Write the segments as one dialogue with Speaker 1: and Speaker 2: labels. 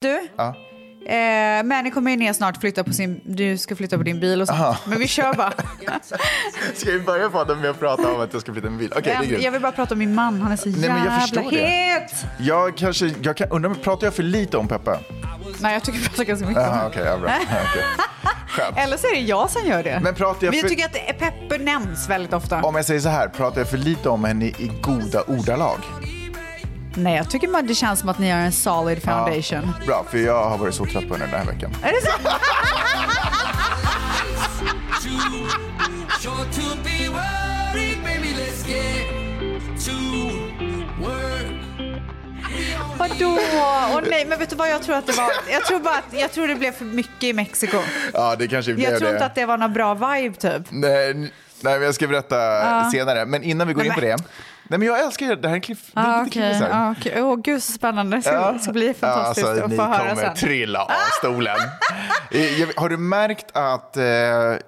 Speaker 1: Du,
Speaker 2: Ja.
Speaker 1: eh, Mani kommer ju ner snart flytta på sin, du ska flytta på din bil och sånt.
Speaker 2: Aha.
Speaker 1: Men vi kör bara.
Speaker 2: Ska vi börja podden med att prata om att jag ska flytta en bil? Okej, det är
Speaker 1: jag
Speaker 2: grymt.
Speaker 1: vill bara prata om min man, han är så
Speaker 2: men jag
Speaker 1: jävla
Speaker 2: förstår det.
Speaker 1: het.
Speaker 2: Jag kanske, jag kan, undrar, om- pratar jag för lite om Peppe?
Speaker 1: Nej, jag tycker vi pratar ganska mycket om
Speaker 2: Jaha,
Speaker 1: det.
Speaker 2: okej, ja, bra. Okej. Skönt.
Speaker 1: Eller så är det jag som gör det.
Speaker 2: Men pratar jag
Speaker 1: Men jag
Speaker 2: för-
Speaker 1: tycker att det- Peppe nämns väldigt ofta.
Speaker 2: Om jag säger så här, pratar jag för lite om henne i goda ordalag?
Speaker 1: Nej, jag tycker man, det känns som att ni har en solid foundation.
Speaker 2: Bra, för jag har varit så trött på henne den här veckan.
Speaker 1: Är det så?
Speaker 3: Sure to be worried, baby. Let's get to work.
Speaker 1: Vadå? Åh nej, men vet du vad jag tror att det var? Jag tror bara att jag tror det blev för mycket i Mexiko.
Speaker 2: Ja, det kanske blev
Speaker 1: Jag tror
Speaker 2: det.
Speaker 1: inte att det var någon bra vibe typ.
Speaker 2: Nej, nej, men jag ska berätta senare. Men innan vi går
Speaker 1: Nej,
Speaker 2: in på
Speaker 1: men-
Speaker 2: det. Nej, men jag älskar det. Det här är en cliff... det är
Speaker 1: Ja,
Speaker 2: lite
Speaker 1: Ah, okej.
Speaker 2: cliffhanger.
Speaker 1: Ja, okej. Åh, gud så spännande. Det ska, det ska bli fantastiskt
Speaker 2: alltså,
Speaker 1: att
Speaker 2: ni
Speaker 1: få höra
Speaker 2: kommer
Speaker 1: sen.
Speaker 2: trilla av stolen. Eh, jag- Har du märkt att eh,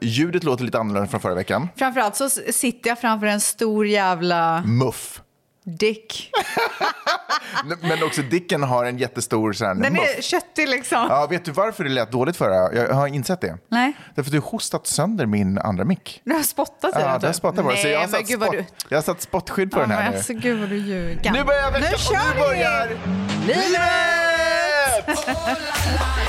Speaker 2: ljudet låter lite annorlunda från förra veckan?
Speaker 1: Framförallt så s- sitter jag framför en stor jävla
Speaker 2: Muff.
Speaker 1: dick.
Speaker 2: N- Men också Dicken har en jättestor sån här
Speaker 1: Den
Speaker 2: muff.
Speaker 1: är köttig liksom.
Speaker 2: Ja, vet du varför det lät dåligt förra? Jag har insett det.
Speaker 1: Nej.
Speaker 2: Därför att du hostat sönder min andra mick.
Speaker 1: Nu har jag spottat i
Speaker 2: Ja,
Speaker 1: den.
Speaker 2: där
Speaker 1: typ.
Speaker 2: spottar bara.
Speaker 1: Nej,
Speaker 2: Så jag har
Speaker 1: men
Speaker 2: satt,
Speaker 1: gud vad
Speaker 2: spott,
Speaker 1: du...
Speaker 2: jag har satt spottskydd på
Speaker 1: Ja,
Speaker 2: den
Speaker 1: men
Speaker 2: här nu.
Speaker 1: alltså gud vad du ljuger.
Speaker 2: Nu börjar veckan
Speaker 1: Nu kör
Speaker 2: och nu
Speaker 1: vi!
Speaker 2: börjar livet!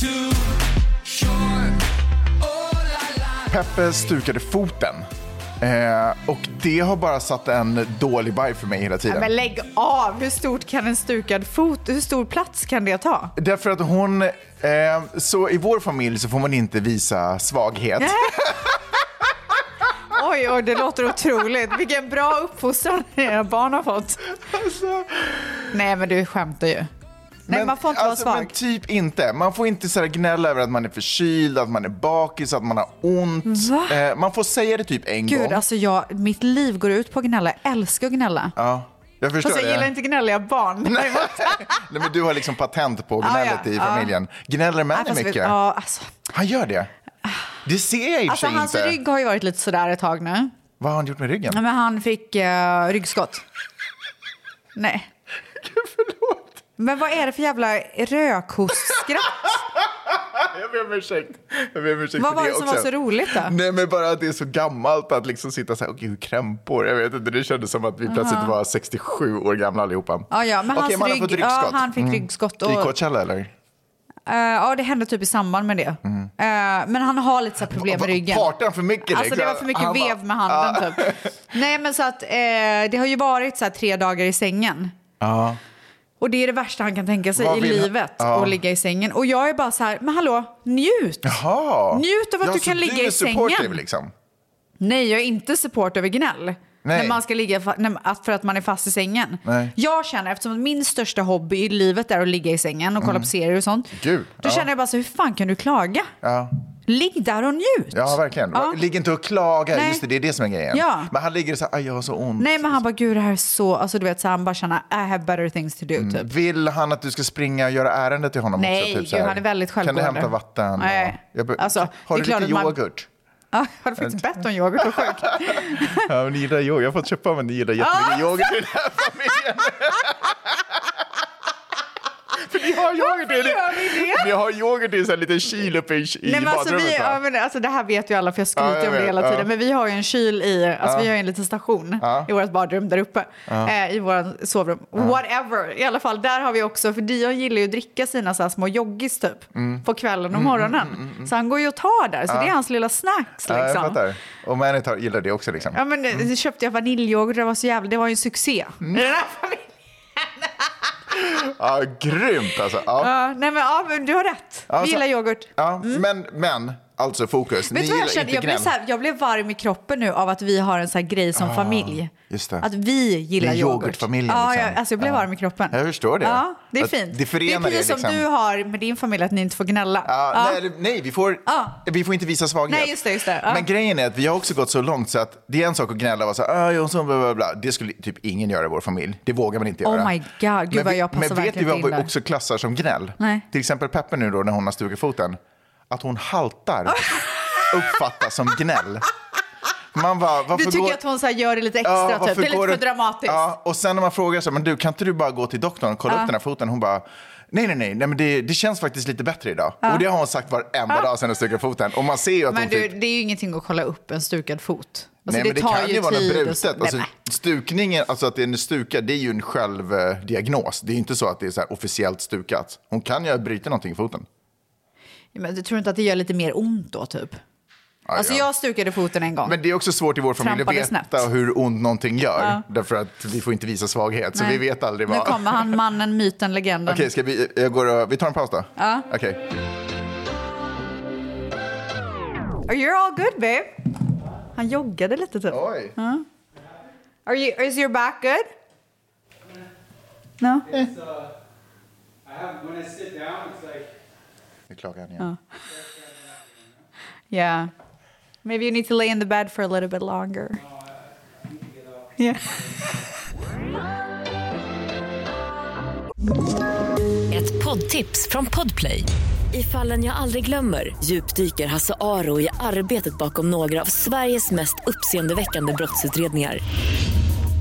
Speaker 3: Too short.
Speaker 2: Peppe stukade foten. Eh, och det har bara satt en dålig vibe för mig hela tiden.
Speaker 1: Men lägg av! Hur stort kan en stukad fot, hur stor plats kan det ta?
Speaker 2: Därför att hon... Eh, så i vår familj så får man inte visa svaghet.
Speaker 1: Oj, oj, det låter otroligt. Vilken bra uppfostran era barn har fått.
Speaker 2: Alltså,
Speaker 1: Nej, men du skämtar ju. Nej, man får inte
Speaker 2: alltså,
Speaker 1: vara
Speaker 2: Men
Speaker 1: svag.
Speaker 2: typ inte. Man får inte så här gnälla över att man är förkyld, att man är bakis, att man har ont.
Speaker 1: Va?
Speaker 2: Eh, man får säga det typ en
Speaker 1: Gud,
Speaker 2: gång.
Speaker 1: alltså jag, mitt liv går ut på att gnälla. Jag älskar att gnälla.
Speaker 2: Ja, jag förstår
Speaker 1: Fast jag
Speaker 2: det.
Speaker 1: gillar inte gnälliga barn.
Speaker 2: Nej, Nej, men du har liksom patent på
Speaker 1: Ah, Ja, ja,
Speaker 2: gnället i
Speaker 1: ja.
Speaker 2: familjen. Gnäller
Speaker 1: Nej,
Speaker 2: männen
Speaker 1: fast vet-
Speaker 2: mycket?
Speaker 1: ja, alltså,
Speaker 2: Han gör det? Det ser jag i och för
Speaker 1: alltså,
Speaker 2: sig
Speaker 1: hans
Speaker 2: inte.
Speaker 1: rygg har ju varit lite sådär ett tag nu.
Speaker 2: Vad har han gjort med ryggen?
Speaker 1: Men han fick eh, ryggskott. Nej.
Speaker 2: Förlåt.
Speaker 1: Men vad är det för jävla rökhostskratt?
Speaker 2: Jag ber om ursäkt. Jag ber om ursäkt
Speaker 1: Vad
Speaker 2: för
Speaker 1: var det
Speaker 2: det
Speaker 1: som
Speaker 2: också.
Speaker 1: var så roligt då?
Speaker 2: Nej men bara att det är så gammalt att liksom sitta så här, okej hur krämpor, jag vet inte, det kändes som att vi plötsligt var 67 år gamla allihopa.
Speaker 1: Ja, ja, men
Speaker 2: Okej,
Speaker 1: hans
Speaker 2: man har
Speaker 1: rygg-
Speaker 2: fått ryggskott. Mm.
Speaker 1: ja, han fick ryggskott och-
Speaker 2: I Coachella eller?
Speaker 1: Eh, ja, det hände typ i samband med det.
Speaker 2: Mm.
Speaker 1: Eh, men han har lite så här problem med
Speaker 2: Va-
Speaker 1: ryggen.
Speaker 2: Partade han för mycket? direkt?
Speaker 1: Alltså det var för mycket
Speaker 2: Han bara-
Speaker 1: vev med handen
Speaker 2: Ah.
Speaker 1: typ. Nej men så att eh, det har ju varit så här tre dagar i sängen.
Speaker 2: Ja.
Speaker 1: Och det är det värsta han kan tänka sig
Speaker 2: Vad
Speaker 1: i
Speaker 2: vill han-
Speaker 1: livet,
Speaker 2: Ja.
Speaker 1: att ligga i sängen. Och jag är bara så här, men hallå, njut!
Speaker 2: Jaha.
Speaker 1: Njut av att
Speaker 2: ja,
Speaker 1: du
Speaker 2: så
Speaker 1: kan ligga
Speaker 2: är
Speaker 1: i
Speaker 2: supportive,
Speaker 1: sängen.
Speaker 2: Liksom.
Speaker 1: Nej, jag är inte support över gnäll.
Speaker 2: Nej.
Speaker 1: När man ska ligga fa- när, att- för att man är fast i sängen.
Speaker 2: Nej.
Speaker 1: Jag känner, eftersom att min största hobby i livet är att ligga i sängen och kolla på serier och sånt.
Speaker 2: Mm. Gud,
Speaker 1: då
Speaker 2: ja.
Speaker 1: känner jag bara så, hur fan kan du klaga?
Speaker 2: Ja.
Speaker 1: Ligg där och njut.
Speaker 2: ja, verkligen.
Speaker 1: Ja.
Speaker 2: Ligg inte och klaga,
Speaker 1: Nej.
Speaker 2: just det, det är det som är grejen.
Speaker 1: Ja.
Speaker 2: Men han ligger så här, "Aj, jag har så ont.
Speaker 1: Nej men han bara, gud det här är så, alltså du vet så här, han bara känner, I have better things to do
Speaker 2: Mm.
Speaker 1: typ.
Speaker 2: Vill han att du ska springa och göra ärendet till honom
Speaker 1: Nej,
Speaker 2: också? typ
Speaker 1: gud,
Speaker 2: så här,
Speaker 1: han är väldigt självgående.
Speaker 2: Kan du hämta vatten?
Speaker 1: Nej.
Speaker 2: Och- Jag be-
Speaker 1: Alltså, det är
Speaker 2: har du
Speaker 1: klart
Speaker 2: lite
Speaker 1: att man-
Speaker 2: yoghurt?
Speaker 1: Ja, jag hade faktiskt bett om yoghurt och sjuk.
Speaker 2: Ja, men ni gillar yoghurt. Jag har fått köpa, men ni gillar jättemycket yoghurt i den här familjen. För ni har yoghurt i
Speaker 1: gör vi det?
Speaker 2: Ni har yoghurt i en sån här liten kyl uppe i, i
Speaker 1: Nej, men alltså,
Speaker 2: badrummet.
Speaker 1: vi,
Speaker 2: va?
Speaker 1: ja, men, alltså, det här vet ju alla för jag
Speaker 2: Ja,
Speaker 1: skryter
Speaker 2: jag
Speaker 1: om det
Speaker 2: vet,
Speaker 1: hela
Speaker 2: ja.
Speaker 1: tiden. Men vi har ju en kyl i, alltså vi har ju en liten station i vårt badrum där uppe. Eh, I vårt sovrum. Whatever. I alla fall, där har vi också, för Dion gillar ju att dricka sina så här små joggis typ.
Speaker 2: Mm.
Speaker 1: På kvällen och morgonen. Så han går ju och tar där. Så det är hans lilla snacks
Speaker 2: Ja, jag
Speaker 1: liksom.
Speaker 2: fattar. Och Manny tar- gillar det också. Liksom.
Speaker 1: Ja, men mm. köpte jag vaniljyoghurt, det var så jävla, det var ju en succé.
Speaker 2: Mm.
Speaker 1: I den här familjen.
Speaker 2: Ja, grymt alltså. Ja.
Speaker 1: Ja, nej men, ja, men du har rätt. Vi
Speaker 2: Alltså-
Speaker 1: gillar yoghurt.
Speaker 2: Ja, men, men, alltså
Speaker 1: Vet
Speaker 2: fokus. ni
Speaker 1: du vad
Speaker 2: gillar
Speaker 1: jag kände?
Speaker 2: inte
Speaker 1: Jag blev,
Speaker 2: gnäll.
Speaker 1: så här, jag blev varm i kroppen nu av att vi har en så här grej som familj.
Speaker 2: Ah, just det.
Speaker 1: Att vi gillar
Speaker 2: Det är
Speaker 1: yoghurt.
Speaker 2: yoghurtfamiljen,
Speaker 1: Ja,
Speaker 2: liksom.
Speaker 1: jag, alltså jag blev
Speaker 2: Ja.
Speaker 1: varm i kroppen.
Speaker 2: Jag förstår det.
Speaker 1: Ja, det är
Speaker 2: Att
Speaker 1: fint.
Speaker 2: det förenar
Speaker 1: är precis
Speaker 2: det,
Speaker 1: som
Speaker 2: liksom.
Speaker 1: du har med din familj, att ni inte får gnälla.
Speaker 2: Ja,
Speaker 1: Ja.
Speaker 2: Nej, liksom, eller- nej vi, får,
Speaker 1: Ja.
Speaker 2: vi får inte visa svaghet.
Speaker 1: Nej, just det, just det. Ja.
Speaker 2: Men grejen är att vi har också gått så långt så att det är en sak att gnälla och vara så här, "Ah, jag har så bla, bla, bla. Det skulle typ ingen göra i vår familj. Det vågar man inte
Speaker 1: Oh
Speaker 2: göra.
Speaker 1: my God, gud
Speaker 2: men
Speaker 1: vad
Speaker 2: vi-
Speaker 1: jag passar
Speaker 2: Men vet
Speaker 1: verkligen
Speaker 2: du
Speaker 1: inte
Speaker 2: vad
Speaker 1: in
Speaker 2: vi
Speaker 1: där.
Speaker 2: också klassar som gnäll?
Speaker 1: Nej.
Speaker 2: Till exempel Peppe nu då när hon har stuckit foten. Att hon haltar uppfattas som gnäll. Man bara, varför
Speaker 1: Du tycker
Speaker 2: går...
Speaker 1: att hon så här gör det lite extra,
Speaker 2: varför
Speaker 1: typ. det är lite
Speaker 2: går
Speaker 1: för dramatiskt.
Speaker 2: Ja, och sen när man frågar så här, men du kan inte du bara gå till doktorn och kolla upp den här foten? Hon bara, nej nej nej, nej men det, det känns faktiskt lite bättre idag. Och det har hon sagt varenda dag sen hon stukade foten. Och man ser ju att
Speaker 1: Men
Speaker 2: hon
Speaker 1: du,
Speaker 2: typ,
Speaker 1: det är ju ingenting att kolla upp en stukad fot. Alltså,
Speaker 2: nej men det
Speaker 1: tar
Speaker 2: kan ju vara något
Speaker 1: tid och så-
Speaker 2: brutet.
Speaker 1: Nej,
Speaker 2: Alltså,
Speaker 1: nej.
Speaker 2: stukningen, alltså att den är stukad, det är ju en självdiagnos. Det är ju inte så att det är så här officiellt stukat. Hon kan ju ha brutit någonting i foten.
Speaker 1: Men du tror inte att det gör lite mer ont då, typ?
Speaker 2: Aj,
Speaker 1: Alltså
Speaker 2: ja.
Speaker 1: jag stukade foten en gång.
Speaker 2: Men det är också svårt i vår familj att
Speaker 1: Trampade
Speaker 2: veta
Speaker 1: snett.
Speaker 2: hur ont någonting gör. Därför att vi får inte visa svaghet, så
Speaker 1: Nej.
Speaker 2: vi vet aldrig vad...
Speaker 1: Nu kommer han, mannen, myten, legenden.
Speaker 2: Okej, ska vi, jag går och, vi tar en paus då?
Speaker 1: Ja.
Speaker 2: Okej.
Speaker 1: Are you all good babe? Han joggade lite typ.
Speaker 2: Oj.
Speaker 1: Are you, is your back good? Eh. No?
Speaker 4: It's, uh, I have when I sit down, it's like
Speaker 2: Nu klagar han igen.
Speaker 1: Yeah. Maybe you need to lay in the bed for a little bit longer. Yeah.
Speaker 5: Ett poddtips från Podplay. I fallen jag aldrig glömmer djupdyker Hasse Aro i arbetet bakom några av Sveriges mest uppseendeväckande brottsutredningar.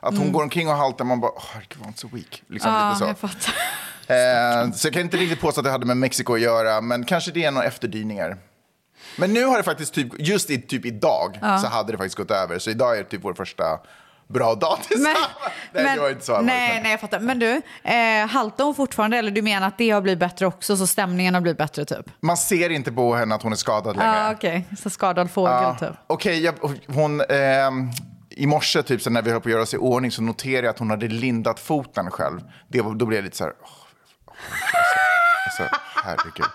Speaker 2: Att hon går omkring och haltar, man bara, åh, herregud, var inte så weak. Liksom,
Speaker 1: Mm. Ja,
Speaker 2: lite så.
Speaker 1: jag fattar.
Speaker 2: Eh, så jag kan inte riktigt påstå att det hade med Mexiko att göra, men kanske det är några efterdyningar. Men nu har det faktiskt, typ, just i, typ idag, så hade det faktiskt gått över. Så idag är det typ vår första bra dag
Speaker 1: Men,
Speaker 2: tillsammans. nej,
Speaker 1: men-
Speaker 2: det var inte så allvarligt,
Speaker 1: nej,
Speaker 2: men-
Speaker 1: nej, jag fattar. Men du, eh, haltar hon fortfarande eller du menar att det har blivit bättre också så stämningen har blivit bättre typ?
Speaker 2: Man ser inte på henne att hon är skadad längre.
Speaker 1: Ja, okej. Så skadad fågel typ.
Speaker 2: Okej, jag- hon... ehm, I morse typ, så när vi höll på att göra oss i ordning så noterade jag att hon hade lindat foten själv. Det, var- då blev jag lite så här... åh, åh, alltså, alltså, herregud.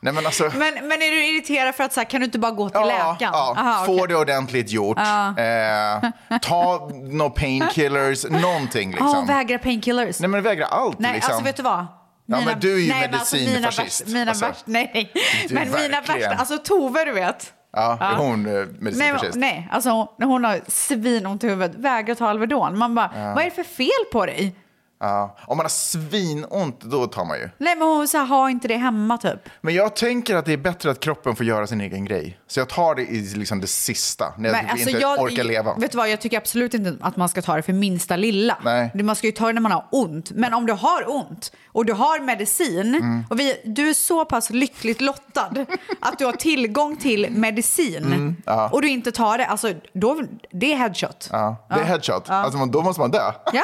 Speaker 2: Nej, men alltså...
Speaker 1: Men, men är du irriterad för att så här, kan du inte bara gå till
Speaker 2: ja,
Speaker 1: läkaren?
Speaker 2: ja,
Speaker 1: Aha,
Speaker 2: få
Speaker 1: okej.
Speaker 2: det ordentligt gjort. Eh, ta några painkillers, någonting
Speaker 1: Ja,
Speaker 2: liksom.
Speaker 1: vägra painkillers.
Speaker 2: Nej, men vägra allt
Speaker 1: Nej,
Speaker 2: liksom.
Speaker 1: alltså vet du vad?
Speaker 2: Ja, men du är ju
Speaker 1: men mina
Speaker 2: medicinfascist.
Speaker 1: värsta- Mina
Speaker 2: Alltså,
Speaker 1: värsta, nej, nej.
Speaker 2: du är
Speaker 1: men mina
Speaker 2: verkligen-
Speaker 1: värsta, alltså Tove du vet.
Speaker 2: Ja, är hon eh,
Speaker 1: Nej,
Speaker 2: medicinfascist?
Speaker 1: nej, alltså hon, när hon har svinont i huvudet, vägrar ta Alvedon. Man bara, vad är det för fel på dig?
Speaker 2: Ja. Om man har svinont, då tar man ju.
Speaker 1: Nej men hon så här, har inte det hemma typ.
Speaker 2: Men jag tänker att det är bättre att kroppen får göra sin egen grej. Så jag tar det i liksom det sista, när jag
Speaker 1: Men, alltså
Speaker 2: typ inte orkar leva.
Speaker 1: Vet du vad, jag tycker absolut inte att man ska ta det för minsta lilla.
Speaker 2: Nej.
Speaker 1: Du- Man ska ju ta det när man har ont. Men om du har ont och du har medicin
Speaker 2: Mm.
Speaker 1: och vi, du är så pass lyckligt lottad att du har tillgång till medicin
Speaker 2: Mm,
Speaker 1: och du inte tar det, alltså då, det är headshot.
Speaker 2: Ja, det är headshot. Alltså, man- då måste man dö.
Speaker 1: Ja.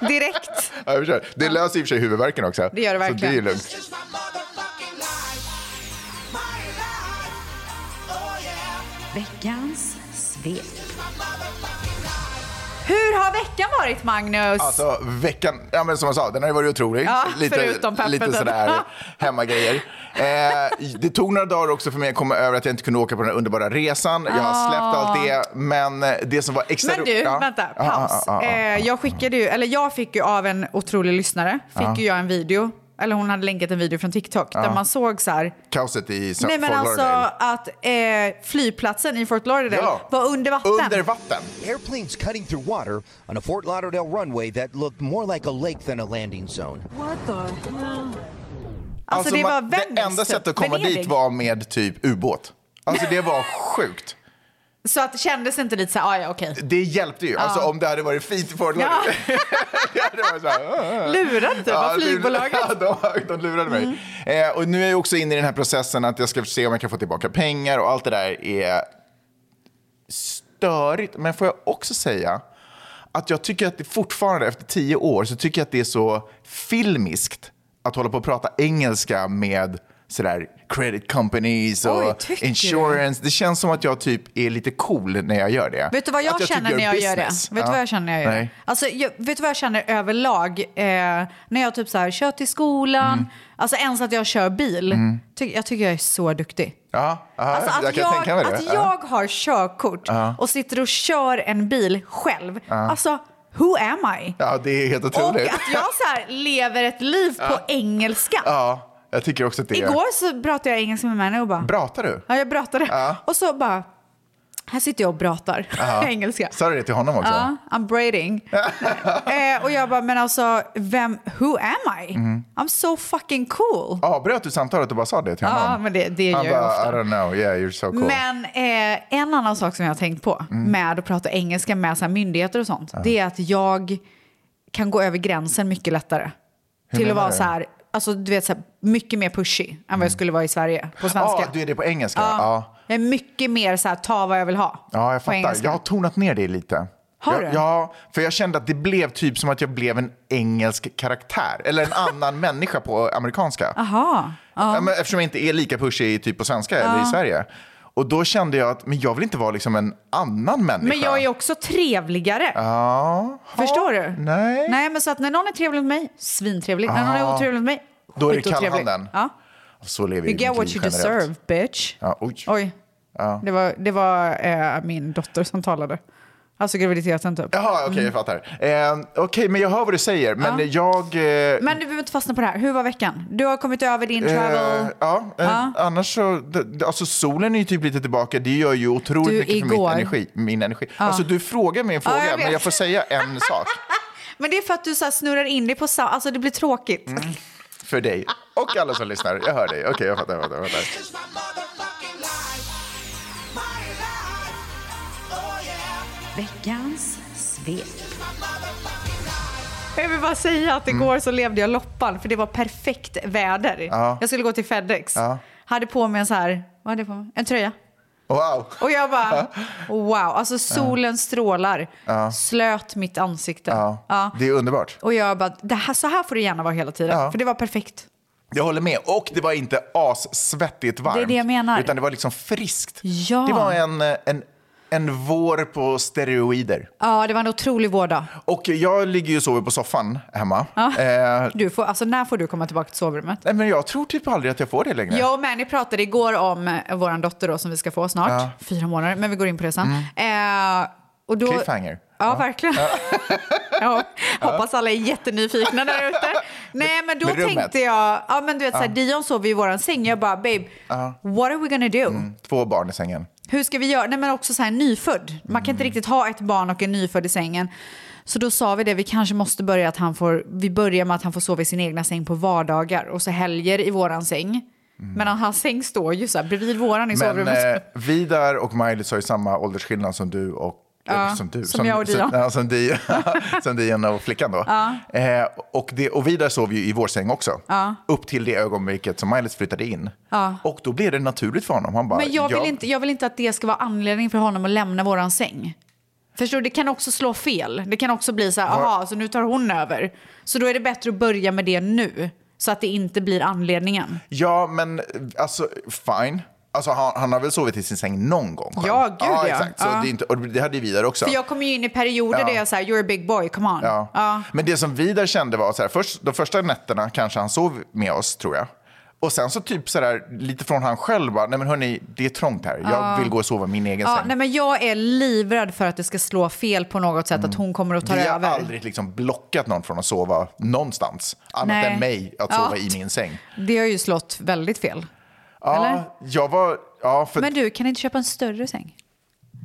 Speaker 1: Direkt.
Speaker 2: Ja, jag förstår. det löser i och för sig huvudvärken också.
Speaker 1: Det gör det
Speaker 2: Så det är ju
Speaker 1: verkligen.
Speaker 2: lugnt.
Speaker 3: It's my motherfucking life. My life. Oh yeah.
Speaker 5: Veckans svep.
Speaker 1: Hur har veckan varit Magnus?
Speaker 2: Alltså veckan, ja, men som jag sa, den har ju varit otrolig.
Speaker 1: Ja,
Speaker 2: lite,
Speaker 1: förutom peppet.
Speaker 2: lite sådär hemmagrejer. Eh, det tog några dagar också för mig att komma över att jag inte kunde åka på den här underbara resan. Jag har släppt allt det. Men eh, det som var extra
Speaker 1: Ah. Men du,
Speaker 2: ro- ja.
Speaker 1: vänta,
Speaker 2: Ja, ja,
Speaker 1: paus.
Speaker 2: ja, ja.
Speaker 1: Eh, Jag skickade ju, eller jag fick ju av en otrolig lyssnare, fick ju jag en video, eller hon hade länkat en video från TikTok där man såg så här,
Speaker 2: Kaoset i Fort
Speaker 1: nej men alltså
Speaker 2: Lauderdale.
Speaker 1: att eh, flygplatsen i Fort Lauderdale
Speaker 2: Ja.
Speaker 1: var under vatten.
Speaker 2: Under vatten.
Speaker 6: Airplanes cutting through water on a Fort Lauderdale runway that looked more like a lake than a landing zone.
Speaker 1: alltså, det var
Speaker 2: man-
Speaker 1: Venice,
Speaker 2: det enda
Speaker 1: typ.
Speaker 2: sättet att komma
Speaker 1: Venedig.
Speaker 2: dit var med typ ubåt. Alltså det var sjukt.
Speaker 1: Så att det kändes inte lite så här, ah, ja okej.
Speaker 2: Det hjälpte ju. Alltså om det hade varit fint i Fort Lauderdale. det hade varit så här, "Åh."
Speaker 1: Lurad typ av
Speaker 2: Ja, du-
Speaker 1: flygbolaget. Mm.
Speaker 2: Ja, de, de lurade mig. Eh, och nu är jag också inne i den här processen att jag ska se om jag kan få tillbaka pengar och allt det där är störigt. Men får jag också säga att jag tycker att det fortfarande efter tio år så tycker jag att det är så filmiskt att hålla på och prata engelska med sådär credit companies och
Speaker 1: Oj, tycker du?
Speaker 2: insurance. Det känns som att jag typ är lite cool när jag gör det.
Speaker 1: Vet du vad jag,
Speaker 2: Att
Speaker 1: känner
Speaker 2: tycker
Speaker 1: när jag gör det?
Speaker 2: business.
Speaker 1: Vet
Speaker 2: Ja.
Speaker 1: du vad jag känner när jag gör det?
Speaker 2: Nej.
Speaker 1: Alltså, jag, vet du vad jag känner överlag? Eh, när jag typ så här, kör till skolan,
Speaker 2: Mm.
Speaker 1: alltså ens att jag kör bil. Ty, jag tycker jag är så duktig.
Speaker 2: Ja, aha,
Speaker 1: Alltså att
Speaker 2: jag
Speaker 1: jag,
Speaker 2: kan tänka mig det.
Speaker 1: att
Speaker 2: Ja.
Speaker 1: jag har körkort och sitter och kör en bil själv. Alltså who am I?
Speaker 2: Ja, det är helt
Speaker 1: Och
Speaker 2: otroligt.
Speaker 1: att jag så här lever ett liv på engelska.
Speaker 2: Ja, jag tycker också att det är...
Speaker 1: Igår så pratade jag engelska med henne och bara...
Speaker 2: Pratar du?
Speaker 1: Ja, jag pratade.
Speaker 2: Ja.
Speaker 1: Och så bara... Här sitter jag och pratar engelska.
Speaker 2: Sa du det till honom också?
Speaker 1: Ja, I'm braiding. eh, och jag bara, men alltså, vem, who am I?
Speaker 2: Mm.
Speaker 1: I'm so fucking cool.
Speaker 2: Avbröt du samtalet och bara sa det till honom?
Speaker 1: Ja, men det- det
Speaker 2: Han
Speaker 1: gör jag
Speaker 2: bara,
Speaker 1: ofta.
Speaker 2: I don't know, yeah you're so cool. Mm.
Speaker 1: Men eh, en annan sak som jag har tänkt på med att prata engelska med så här, myndigheter och sånt, det är att jag kan gå över gränsen mycket lättare. till
Speaker 2: menar
Speaker 1: att vara
Speaker 2: du?
Speaker 1: så här, alltså du vet så här, mycket mer pushy än vad jag skulle vara i Sverige på svenska.
Speaker 2: ah, du är det på engelska? Ja. Ja,
Speaker 1: Jag är mycket mer så här, ta vad jag vill ha.
Speaker 2: jag
Speaker 1: på
Speaker 2: fattar.
Speaker 1: engelska.
Speaker 2: Jag har tonat ner det lite.
Speaker 1: Har
Speaker 2: jag,
Speaker 1: du?
Speaker 2: Ja, för jag kände att det blev typ som att jag blev en engelsk karaktär. Eller en annan människa på amerikanska.
Speaker 1: Jaha.
Speaker 2: Ja, men eftersom jag inte är lika pushig typ på svenska eller i Sverige. Och då kände jag att men jag vill inte vara liksom en annan människa.
Speaker 1: Men jag är också trevligare.
Speaker 2: Ja.
Speaker 1: Förstår du?
Speaker 2: Nej.
Speaker 1: Nej, men så att när någon är trevlig mot mig, svintrevlig. När någon är otrevlig mot mig,
Speaker 2: Då är det
Speaker 1: skitotrevlig.
Speaker 2: kallhanden.
Speaker 1: Ja.
Speaker 2: Så lever
Speaker 1: You
Speaker 2: ju
Speaker 1: get
Speaker 2: mitt
Speaker 1: what
Speaker 2: liv
Speaker 1: you
Speaker 2: generellt.
Speaker 1: deserve, bitch.
Speaker 2: Ja, oj.
Speaker 1: Oj. Det var, det var eh, min dotter som talade. Alltså graviditeten typ.
Speaker 2: Jaha, okej, jag fattar. Eh, okej, men jag hör vad du säger. Men jag... Eh,
Speaker 1: Men du behöver inte fastna på det här. Hur var veckan? Du har kommit över din travel.
Speaker 2: Eh, ja, eh, annars så, d- d- alltså solen är ju typ lite tillbaka, det gör ju otroligt
Speaker 1: Du,
Speaker 2: mycket
Speaker 1: igår-
Speaker 2: för mitt energi, min energi. Alltså du frågar mig en
Speaker 1: Ja,
Speaker 2: fråga,
Speaker 1: jag vet.
Speaker 2: men jag får säga en sak
Speaker 1: Men det är för att du så här snurrar in dig på samma... Alltså det blir tråkigt.
Speaker 2: Mm. för dig och alla som lyssnar. Jag hör dig, okej jag fattar, jag fattar, jag fattar.
Speaker 3: It's my motherfucking life. My life. Oh yeah.
Speaker 5: Veckans svep.
Speaker 1: Jag vill bara säga att igår
Speaker 2: Mm.
Speaker 1: så levde jag loppan för det var perfekt väder. Jag skulle gå till Fedex. Hade på mig en så här... Vad hade jag på mig? En tröja.
Speaker 2: Wow,
Speaker 1: Och jag bara, wow, alltså solen strålar. Slöt mitt ansikte.
Speaker 2: ja,
Speaker 1: Ja.
Speaker 2: det är underbart.
Speaker 1: Och jag bara, det här, så här får det gärna vara hela tiden.
Speaker 2: Ja.
Speaker 1: För det var perfekt.
Speaker 2: Jag håller med, och det var inte assvettigt varmt.
Speaker 1: Det är det jag menar.
Speaker 2: Utan det var liksom friskt.
Speaker 1: Ja.
Speaker 2: Det var en, eh, en, en vår på steroider.
Speaker 1: Ja, det var en otrolig vårdag.
Speaker 2: Och jag ligger ju och sover på soffan hemma.
Speaker 1: Ja.
Speaker 2: Eh,
Speaker 1: Du får, alltså, när får du komma tillbaka till sovrummet?
Speaker 2: nej, men jag tror typ aldrig att jag får det längre.
Speaker 1: Jag och Mani pratade igår om eh, vår dotter då, som vi ska få snart. Fyra månader, men vi går in på det sen. Eh, och då,
Speaker 2: Mm. Cliffhanger.
Speaker 1: Ja, verkligen. Ja. Hoppas alla är jättenyfikna där ute. Nej, men då
Speaker 2: med rummet.
Speaker 1: tänkte jag... Ja, men du vet, så här, Dion sover i våran säng. Jag bara, babe, what are we gonna do?
Speaker 2: Två barn i sängen.
Speaker 1: Hur ska vi göra? Nej, men också så här nyfödd. Man kan inte
Speaker 2: Mm.
Speaker 1: riktigt ha ett barn och en nyfödd i sängen. Så då sa vi det, vi kanske måste börja att han får, vi börjar med att han får sova i sin egna säng på vardagar och så helger i våran säng. Men han- hans säng står ju så här bredvid våran i
Speaker 2: Mm. Men
Speaker 1: sovrummet.
Speaker 2: eh, Vidar och Maj-Lis har ju samma åldersskillnad som du och eller som, du.
Speaker 1: som jag och Dion.
Speaker 2: Som, ja, som, Dion, som Dion och flickan då. Eh, och, det, och Vidar sov ju i vår säng också. Upp till det ögonblicket som Maj-Lis flyttade in. Och då blev det naturligt för honom. Han bara,
Speaker 1: Men jag vill, Inte, jag vill inte att det ska vara anledning för honom att lämna våran säng. Förstår du? Det kan också slå fel. Det kan också bli så här, aha, så nu tar hon över. Så då är det bättre att börja med det nu. Så att det inte blir anledningen.
Speaker 2: Ja, men eh, alltså fine. Alltså, han, han har väl sovit i sin säng någon gång? själv.
Speaker 1: Ja, gud, ja.
Speaker 2: Exakt. Så
Speaker 1: Ja.
Speaker 2: Det, är inte, och det hade ju Vidar också.
Speaker 1: För jag kommer ju in i perioder där jag säger you're a big boy, come on.
Speaker 2: Ja. Men det som vi där kände var så här, först, de första nätterna kanske han sov med oss, tror jag. Och sen så typ så där, lite från han själv bara, nej men hörni, det är trångt här. Jag vill gå och sova i min egen
Speaker 1: Ja,
Speaker 2: säng.
Speaker 1: nej, men jag är livrädd för att det ska slå fel på något sätt, att hon kommer att ta
Speaker 2: Vi Mm. har
Speaker 1: över.
Speaker 2: aldrig liksom blockat någon från att sova någonstans, annat
Speaker 1: Nej.
Speaker 2: än mig, att
Speaker 1: Ja.
Speaker 2: sova i min säng.
Speaker 1: Det har ju slått väldigt fel. Eller?
Speaker 2: Ja, jag var, ja, för
Speaker 1: Men du, kan inte köpa en större säng?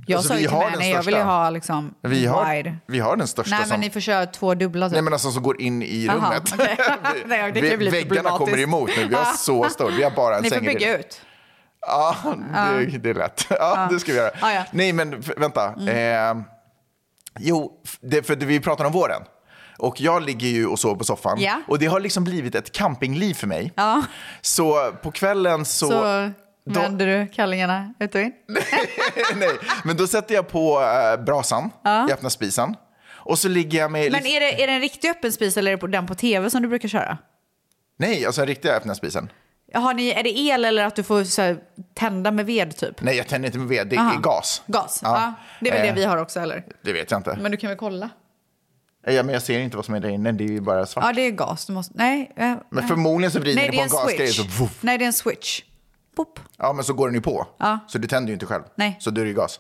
Speaker 1: Jag
Speaker 2: Alltså,
Speaker 1: sa
Speaker 2: vi
Speaker 1: ju till
Speaker 2: har
Speaker 1: henne,
Speaker 2: den
Speaker 1: jag vill ju
Speaker 2: största.
Speaker 1: ha liksom
Speaker 2: vi, har,
Speaker 1: wide.
Speaker 2: vi har den största
Speaker 1: Nej,
Speaker 2: som...
Speaker 1: men ni får köra två dubbla. typ.
Speaker 2: Nej men alltså som går in i
Speaker 1: Aha,
Speaker 2: rummet.
Speaker 1: okej. Nej, det kan ju bli
Speaker 2: Väggarna kommer
Speaker 1: problematiskt.
Speaker 2: emot nu, vi har så stort. Vi har bara en
Speaker 1: Ni får
Speaker 2: säng i det.
Speaker 1: bygga ut.
Speaker 2: Ja, det, det är lätt. Ja, det ska vi göra.
Speaker 1: Ja, Mm. ja.
Speaker 2: Nej, men f- vänta. Eh, jo, f- det, för det, vi pratar om våren. Och jag ligger ju och sover på soffan.
Speaker 1: Ja.
Speaker 2: Och det har liksom blivit ett campingliv för mig.
Speaker 1: Ja.
Speaker 2: Så på kvällen så...
Speaker 1: Så
Speaker 2: då-
Speaker 1: vänder du kallingarna ut och in.
Speaker 2: nej, men då sätter jag på eh, brasan, jag öppnar spisen. Och så ligger jag med...
Speaker 1: Men är det, är det en riktig öppen spis eller är det på- den på tv som du brukar köra?
Speaker 2: Nej, alltså den riktiga öppna spisen.
Speaker 1: Har ni, är det el eller att du får så här, tända med ved typ?
Speaker 2: Nej, jag tänder inte med ved, det
Speaker 1: Aha.
Speaker 2: är gas.
Speaker 1: Gas? Ja. Det är väl
Speaker 2: Eh,
Speaker 1: det vi har också eller?
Speaker 2: Det vet jag inte.
Speaker 1: Men du kan väl kolla?
Speaker 2: Ja, men jag ser inte vad som är där inne, det är ju bara svart.
Speaker 1: Ja, det är gas. Du måste... Nej. eh,
Speaker 2: Men förmodligen så vrider
Speaker 1: Nej,
Speaker 2: ni
Speaker 1: det
Speaker 2: på
Speaker 1: är en
Speaker 2: en gasgrej
Speaker 1: switch.
Speaker 2: så voff.
Speaker 1: Nej, det är en switch. Pop.
Speaker 2: Ja, men så går den ju på. Så du tänder ju inte själv.
Speaker 1: Nej.
Speaker 2: Så du är det ju gas.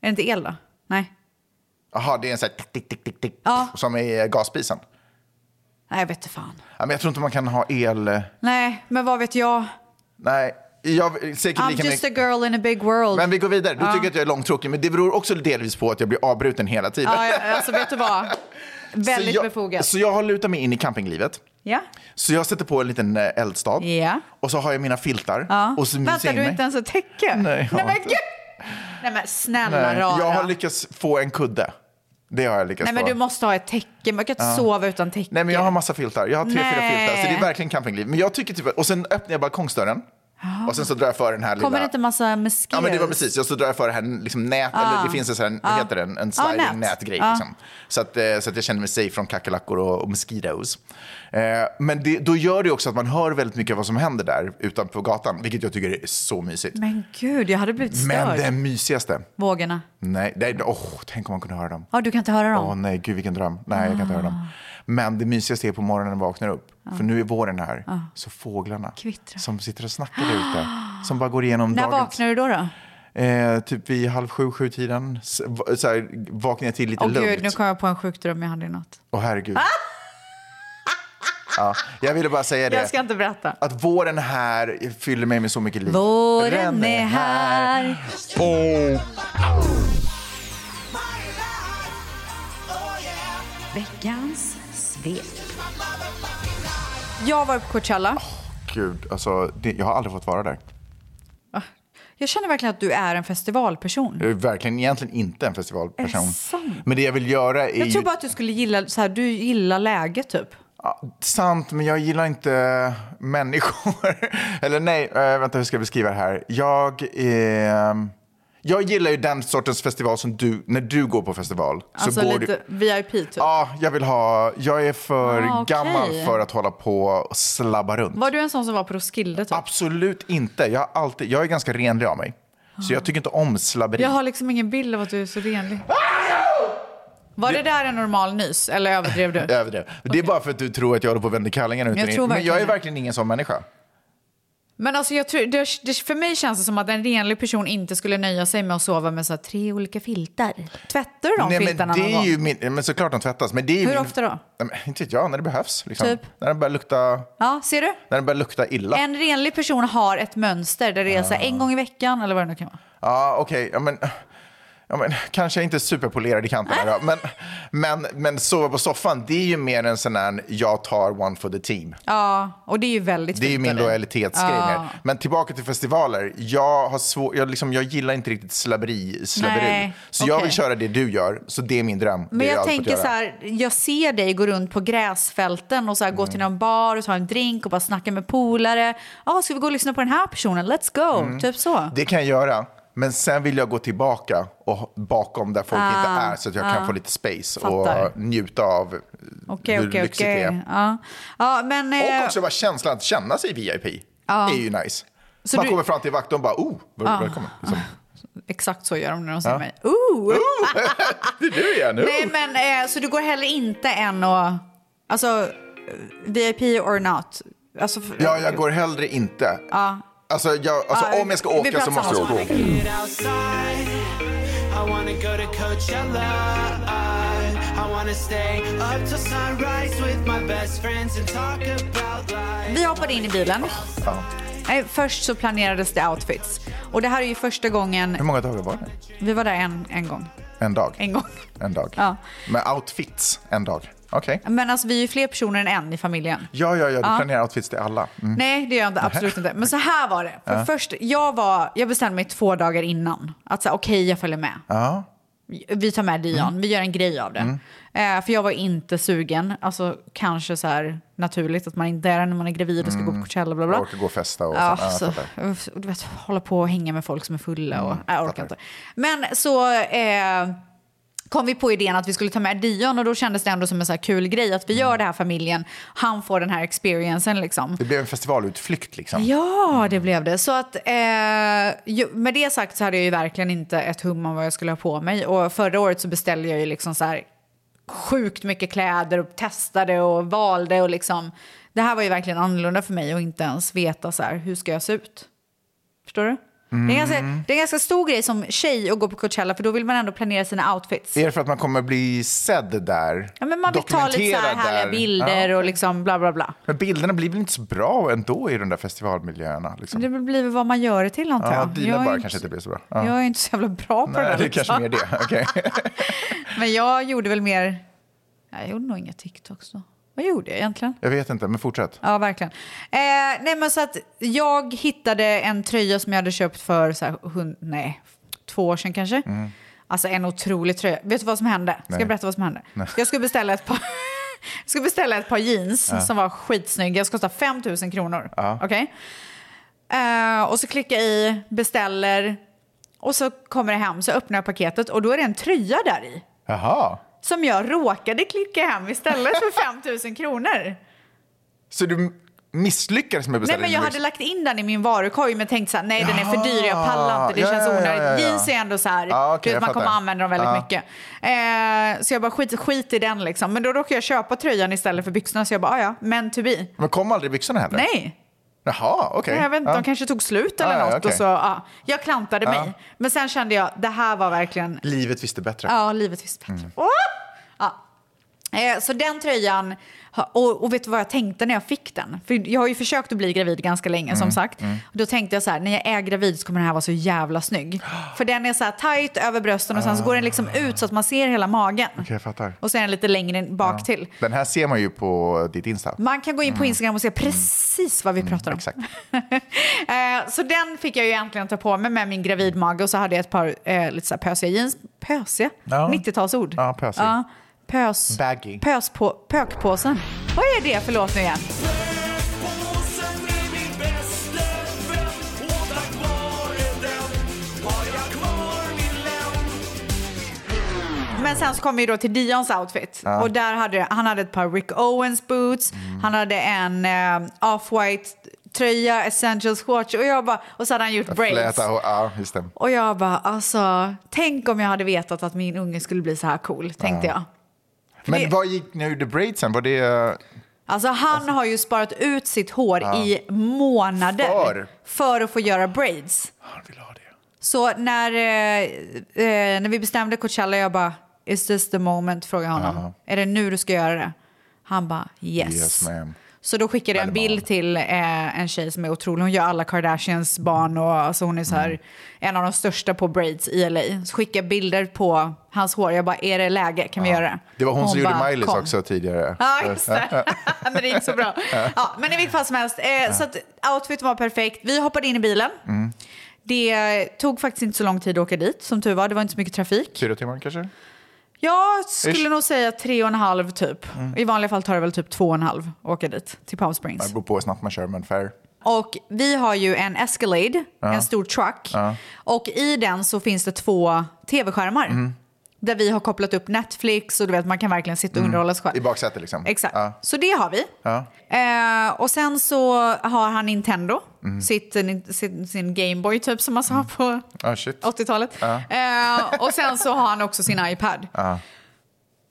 Speaker 1: Är det inte el då? Nej.
Speaker 2: Jaha, det är en sån här tick, tick, tick, tick, tick,
Speaker 1: Ja.
Speaker 2: som är eh, gasspisen.
Speaker 1: Nej, jag vet inte fan.
Speaker 2: Ja, men jag tror inte man kan ha el... eh,
Speaker 1: Nej, men vad vet jag?
Speaker 2: Nej, jag eh, säkert
Speaker 1: I'm
Speaker 2: lika
Speaker 1: just a
Speaker 2: mycket.
Speaker 1: girl in a big world.
Speaker 2: Men vi går vidare. Du tycker att jag är långtråkig, men det beror också delvis på att jag blir avbruten hela tiden.
Speaker 1: Ja, ja, alltså vet du vad? Väldigt
Speaker 2: så jag,
Speaker 1: befogat.
Speaker 2: Så jag har lutat mig in i campinglivet.
Speaker 1: ja.
Speaker 2: Så jag sätter på en liten eh, eldstad
Speaker 1: Ja.
Speaker 2: och så har jag mina filtar
Speaker 1: ja.
Speaker 2: och så myser
Speaker 1: Vänta,
Speaker 2: in
Speaker 1: du
Speaker 2: mig.
Speaker 1: har inte ens ett täcke?
Speaker 2: Nej, jag
Speaker 1: Nej
Speaker 2: har
Speaker 1: men
Speaker 2: inte.
Speaker 1: gud! Nej men snälla
Speaker 2: Nej,
Speaker 1: rara.
Speaker 2: Jag har lyckats få en kudde. Det har jag lyckats
Speaker 1: Nej men
Speaker 2: få.
Speaker 1: du måste ha ett täcke, man kan inte sova utan täcke.
Speaker 2: Nej men jag har massa filtar. Jag har tre, fyra
Speaker 1: Nej.
Speaker 2: filtar. Så det är verkligen campingliv. Men jag tycker typ att, och sen öppnar jag balkongsdörren. Och sen så drar jag för den
Speaker 1: Ah.
Speaker 2: här
Speaker 1: Kommer
Speaker 2: lilla...
Speaker 1: det inte massa moskéer?
Speaker 2: Ja men det var precis, jag så drar jag för det här liksom nät, eller det finns en, sån här, vad heter det, en, en
Speaker 1: Ja,
Speaker 2: sliding
Speaker 1: Ah. nät. Ah.
Speaker 2: nätgrej.
Speaker 1: Ja.
Speaker 2: Liksom. Så, att, eh, så att jag känner mig safe från kackerlackor och, och mosquitoes. Eh, men det, då gör det också att man hör väldigt mycket av vad som händer där utanpå gatan, vilket jag tycker är så mysigt.
Speaker 1: Men gud, jag hade blivit
Speaker 2: Men
Speaker 1: störd.
Speaker 2: det mysigaste,
Speaker 1: Vågorna.
Speaker 2: nej, nej åh, tänk om man kunde höra dem.
Speaker 1: Ja, Ah. du kan inte höra dem.
Speaker 2: Åh nej, gud vilken dröm. Nej, jag kan inte höra dem. Men det mysigaste är på morgonen när man vaknar upp. För
Speaker 1: Ah.
Speaker 2: nu är våren här. Så fåglarna
Speaker 1: Kvittrar.
Speaker 2: som sitter och snackar där ute. Som bara går igenom
Speaker 1: När
Speaker 2: dagens...
Speaker 1: vaknar du då? då?
Speaker 2: Eh, typ vid halv sju, sju-tiden. Så här, vaknar jag till lite
Speaker 1: Åh
Speaker 2: lugnt.
Speaker 1: gud, nu kom Ah! jag på en sjukdröm jag hade i natt.
Speaker 2: Åh herregud. ja, jag ville bara säga det.
Speaker 1: Jag ska inte berätta.
Speaker 2: Att våren här fyller mig med så mycket liv.
Speaker 1: Våren är här.
Speaker 5: Veckans svep.
Speaker 1: Jag var på Coachella.
Speaker 2: Gud, alltså, det, jag har aldrig fått vara där.
Speaker 1: Jag känner verkligen att du är en festivalperson.
Speaker 2: Jag är verkligen egentligen inte en festivalperson.
Speaker 1: Är det sant?
Speaker 2: Men det jag vill göra
Speaker 1: Jag
Speaker 2: är
Speaker 1: tror
Speaker 2: ju-
Speaker 1: bara att du skulle gilla, så här, du gillar läget typ.
Speaker 2: Ja, sant, men jag gillar inte människor. Eller nej, eh, vänta hur ska jag beskriva det här? Jag, ehm, jag gillar ju den sortens festival som du, när du går på festival.
Speaker 1: Alltså
Speaker 2: går
Speaker 1: lite
Speaker 2: du,
Speaker 1: VIP typ.
Speaker 2: Ja, jag vill ha, jag är för
Speaker 1: Ah, okej.
Speaker 2: gammal för att hålla på och slabba runt.
Speaker 1: Var du en sån som var på Roskilde typ?
Speaker 2: Absolut inte. Jag, har alltid, jag är ganska renlig av mig. Så jag tycker inte om slabberi.
Speaker 1: Ah. Jag har liksom ingen bild av att du är så renlig.
Speaker 2: Ah,
Speaker 1: Var det där en normal nys eller överdrev du?
Speaker 2: Jag överdrev. Det är bara för att du tror att jag håller på och vänder kallingarna ut
Speaker 1: Jag
Speaker 2: och in.
Speaker 1: tror
Speaker 2: Men jag är
Speaker 1: verkligen det.
Speaker 2: verkligen ingen sån människa.
Speaker 1: Men alltså jag tror, det, det, för mig känns det som att en renlig person inte skulle nöja sig med att sova med så här, tre olika filtar. Tvättar du de
Speaker 2: Nej, men
Speaker 1: filtarna
Speaker 2: det
Speaker 1: någon
Speaker 2: är
Speaker 1: gång?
Speaker 2: ju min, men såklart de tvättas. Men det är ju
Speaker 1: Hur
Speaker 2: min,
Speaker 1: ofta då?
Speaker 2: Nej, men, inte vet jag, när det behövs. Liksom.
Speaker 1: Typ?
Speaker 2: När den börjar lukta,
Speaker 1: Ja, ser du?
Speaker 2: när den börjar lukta illa.
Speaker 1: En renlig person har ett mönster där det är så här,
Speaker 2: Ah.
Speaker 1: en gång i veckan eller vad det nu kan vara.
Speaker 2: Ja, okej. Ja, men, ja, men, kanske jag inte är superpolerad i kanterna. då. Men, men, men sova på soffan, det är ju mer en sån här jag tar one for the team.
Speaker 1: Ja, och det är ju väldigt
Speaker 2: Det är ju
Speaker 1: fint
Speaker 2: min
Speaker 1: av dig.
Speaker 2: lojalitetsgrej.
Speaker 1: Ja.
Speaker 2: mer. Men tillbaka till festivaler. Jag, har svår, jag, liksom, jag gillar inte riktigt slabberi. slabberi.
Speaker 1: Nej,
Speaker 2: Så jag vill
Speaker 1: okej.
Speaker 2: köra det du gör, så det är min dröm. det
Speaker 1: Men
Speaker 2: har
Speaker 1: jag
Speaker 2: alltid fått
Speaker 1: tänker
Speaker 2: göra.
Speaker 1: så här, jag ser dig gå runt på gräsfälten och så här, gå
Speaker 2: Mm.
Speaker 1: till någon bar och ta en drink och bara snacka med polare. Ja, ska vi gå och lyssna på den här personen? Let's go! Typ så.
Speaker 2: Mm. Det kan jag göra. Men sen vill jag gå tillbaka och bakom där folk inte är så att jag kan få lite space
Speaker 1: Ah, Fattar.
Speaker 2: och njuta av eh,
Speaker 1: Okej,
Speaker 2: hur
Speaker 1: okej,
Speaker 2: lyxigt det
Speaker 1: okej.
Speaker 2: är.
Speaker 1: Ja. Ja, men... eh,
Speaker 2: Och också bara känslan att känna sig VIP är ju nice.
Speaker 1: Så
Speaker 2: Man
Speaker 1: du- Ah.
Speaker 2: kommer fram till vakten och bara oh, väl- välkommen. Liksom.
Speaker 1: Exakt så gör de när de ser mig. Ooh.
Speaker 2: Det är du igen. oh.
Speaker 1: Nej, men eh, så du går heller inte än och... Alltså, eh, VIP or not? Alltså, för-
Speaker 2: Ja, jag går hellre inte. Alltså, jag, alltså
Speaker 1: Ja,
Speaker 2: om jag ska
Speaker 1: vi
Speaker 2: åka
Speaker 1: pratar
Speaker 2: så måste jag
Speaker 1: samma
Speaker 2: åka.
Speaker 7: Get outside. I wanna go to Coachella. I wanna stay up till sunrise with my best friends and talk about life.
Speaker 1: Vi hoppade in i bilen. Eh, Först så planerades det outfits. Och det här är ju första
Speaker 2: Hur
Speaker 1: gången...
Speaker 2: många dagar var det?
Speaker 1: Vi var där en, en gång.
Speaker 2: En dag?
Speaker 1: En gång.
Speaker 2: En dag.
Speaker 1: Ja.
Speaker 2: Med outfits en dag. Okej.
Speaker 1: Men alltså vi är ju fler personer än en i familjen.
Speaker 2: Ja, ja, ja, du planerar outfits till alla. Mm.
Speaker 1: Nej, det gör jag inte, absolut inte. Men så här var det. För först, jag, var, jag bestämde mig två dagar innan. Att säga okej, jag följer med. Vi tar med Dion, vi gör en grej av det. Eh, för jag var inte sugen. Alltså kanske så här naturligt att man inte är det när man är gravid och ska gå på Coachella. Bla, bla.
Speaker 2: Orka gå och festa och
Speaker 1: Ja,
Speaker 2: sånt. Ja, jag
Speaker 1: så,
Speaker 2: fattar. Mm,
Speaker 1: uff, du vet, hålla på och hänga med folk som är fulla. Och, nej, jag orkar
Speaker 2: fattar.
Speaker 1: inte. Men så eh, kom vi på idén att vi skulle ta med Dion och då kändes det ändå som en så här kul grej att vi
Speaker 2: Mm.
Speaker 1: gör det här familjen. Han får den här experiencen liksom.
Speaker 2: Det blev en festivalutflykt liksom.
Speaker 1: Ja, det blev det. Så att, eh, ju, med det sagt så hade jag ju verkligen inte ett hum om vad jag skulle ha på mig. Och förra året så beställde jag ju liksom så här sjukt mycket kläder och testade och valde och liksom. Det här var ju verkligen annorlunda för mig och inte ens veta så här, hur ska jag se ut? Förstår du? Det, är en
Speaker 2: Mm.
Speaker 1: ganska, det är en ganska stor grej som tjej att gå på Coachella för då vill man ändå planera sina outfits.
Speaker 2: Är det för att man kommer bli sedd där?
Speaker 1: Ja, men man vill ta lite så här
Speaker 2: Dokumenterad
Speaker 1: härliga
Speaker 2: där?
Speaker 1: bilder
Speaker 2: Ja.
Speaker 1: och liksom bla bla bla.
Speaker 2: Men bilderna blir väl inte så bra ändå i de där festivalmiljöerna? Liksom.
Speaker 1: Det blir väl vad man gör det till antar
Speaker 2: ja,
Speaker 1: jag.
Speaker 2: bilen
Speaker 1: jag. är
Speaker 2: bara
Speaker 1: inte-
Speaker 2: kanske inte blir så bra. Ja.
Speaker 1: Jag är inte så jävla bra på det
Speaker 2: Nej,
Speaker 1: där.
Speaker 2: det är
Speaker 1: liksom.
Speaker 2: kanske mer det. Okej.
Speaker 1: Men jag gjorde väl mer... Nej, Jag gjorde nog inga TikToks då. Vad gjorde jag egentligen?
Speaker 2: Jag vet inte, men fortsätt.
Speaker 1: Ja, verkligen. Eh, nej, men så att jag hittade en tröja som jag hade köpt för så här, hund, nej, två år sedan kanske. Alltså en otrolig tröja. Vet du vad som hände? Ska
Speaker 2: Mm. Nej.
Speaker 1: jag berätta vad som hände? Jag skulle beställa ett par... Jag skulle beställa ett par jeans som var skitsnygga. Det kostade 5 000 kronor. Ja. och så klickar jag i, beställer och så kommer det hem. Så öppnar jag paketet och då är det en tröja där i.
Speaker 2: Jaha.
Speaker 1: Som jag råkade klicka hem istället för 5 000 kronor.
Speaker 2: Så du misslyckades med
Speaker 1: Nej,
Speaker 2: beställningen?
Speaker 1: men jag hade lagt in den i min varukorg men tänkt så här, nej den är för dyr, jag pallar inte, det
Speaker 2: Ja,
Speaker 1: känns
Speaker 2: ja, ja,
Speaker 1: onödigt.
Speaker 2: ja, ja.
Speaker 1: Jeans är ändå så här,
Speaker 2: Ja, okej,
Speaker 1: du vet,
Speaker 2: jag
Speaker 1: man
Speaker 2: fattar. Ah.
Speaker 1: kommer använda dem väldigt
Speaker 2: Ja.
Speaker 1: mycket. Eh, så jag bara skit, skit i den liksom. Men då råkade jag köpa tröjan istället för byxorna så jag bara, "Ah, ja, men to be.
Speaker 2: Men kom aldrig byxorna heller?
Speaker 1: Nej.
Speaker 2: Jaha, okej.
Speaker 1: Nej, jag vet inte,
Speaker 2: Ja.
Speaker 1: de kanske tog slut
Speaker 2: Ja,
Speaker 1: eller
Speaker 2: Ah. ja,
Speaker 1: något.
Speaker 2: okej. Ah.
Speaker 1: Och så, ja. Jag klantade mig. Men sen kände jag, det här var verkligen
Speaker 2: Livet visste bättre.
Speaker 1: Ja, livet visst bättre.
Speaker 2: Mm.
Speaker 1: Åh! Ja. Eh, Så den tröjan, ha- och, och vet du vad jag tänkte när jag fick den? För jag har ju försökt att bli gravid ganska länge
Speaker 2: Mm,
Speaker 1: som sagt. Då tänkte jag så här, när jag är gravid så kommer den här vara så jävla snygg. För den är så här tajt över brösten och sen så går den liksom ut så att man ser hela magen.
Speaker 2: Ah. Okej, jag fattar.
Speaker 1: Och sen är den lite längre in- bak till.
Speaker 2: Den här ser man ju på ditt Insta.
Speaker 1: Man kan gå in på Instagram och se precis vad vi pratar om.
Speaker 2: Mm. Exakt.
Speaker 1: Eh, så den fick jag ju äntligen ta på mig med min gravidmage och så hade jag ett par eh, lite så här pösiga jeans. Pösiga?
Speaker 2: Ja.
Speaker 1: 90-talsord.
Speaker 2: Ja, pösig.
Speaker 1: pös.
Speaker 2: Baggy.
Speaker 1: Pös på, pökpåsen. Vad är det? Förlåt nu igen. Men sen så kom vi ju då till Dions outfit. Och där hade han hade ett par Rick Owens boots,
Speaker 2: Mm.
Speaker 1: han hade en eh, off-white tröja, essentials shorts och jag bara, och så hade han gjort braids.
Speaker 2: Fläta och, ja, just det.
Speaker 1: Och jag bara, alltså, tänk om jag hade vetat att min unge skulle bli så här cool, tänkte jag.
Speaker 2: Men
Speaker 1: det-
Speaker 2: vad gick ni och gjorde braidsen? Var det... eh,
Speaker 1: Alltså han har ju sparat ut sitt hår i månader
Speaker 2: För?
Speaker 1: för att få göra braids.
Speaker 2: Han vill ha det.
Speaker 1: Så när, eh, eh, när vi bestämde Coachella, jag bara, is this the moment? Frågade honom.
Speaker 2: Ja.
Speaker 1: Är det nu du ska göra det? Han bara, yes.
Speaker 2: Yes, ma'am.
Speaker 1: så då skickade jag en
Speaker 2: Väldigt
Speaker 1: bild till eh, en tjej som är otrolig. Hon gör alla Kardashians barn och alltså hon är så här,
Speaker 2: Mm.
Speaker 1: en av de största på braids i LA. Så skickade jag bilder på hans hår. Jag bara, är det läge? Kan vi göra det?
Speaker 2: Det var hon, som gjorde
Speaker 1: bara,
Speaker 2: Miley's
Speaker 1: "Kom."
Speaker 2: också tidigare.
Speaker 1: Ja, just det. men det gick så bra. Ja, men i vilket fall som helst. Eh, Så att outfiten var perfekt. Vi hoppade in i bilen.
Speaker 2: Mm.
Speaker 1: Det tog faktiskt inte så lång tid att åka dit, som tur var. Det var inte så mycket trafik.
Speaker 2: Fyra timmar kanske?
Speaker 1: Jag skulle
Speaker 2: Ish. Mm.
Speaker 1: nog säga tre och en halv typ. I vanliga fall tar det väl typ två och en halv att åka dit, till Palm Springs.
Speaker 2: Det beror på hur snabbt man kör, men fair.
Speaker 1: Och vi har ju en Escalade, en stor truck. Och i den så finns det två tv-skärmar.
Speaker 2: Mm.
Speaker 1: Där vi har kopplat upp Netflix och du vet man kan verkligen sitta och underhålla sig själv.
Speaker 2: Mm. I baksätet liksom.
Speaker 1: Exakt.
Speaker 2: Ja.
Speaker 1: Så det har vi. Eh, och sen så har han Nintendo,
Speaker 2: Mhm.
Speaker 1: sitt, eh, sin, sin Gameboy typ som man sa på
Speaker 2: Ah, shit.
Speaker 1: 80-talet. Eh, och sen så har han också sin iPad.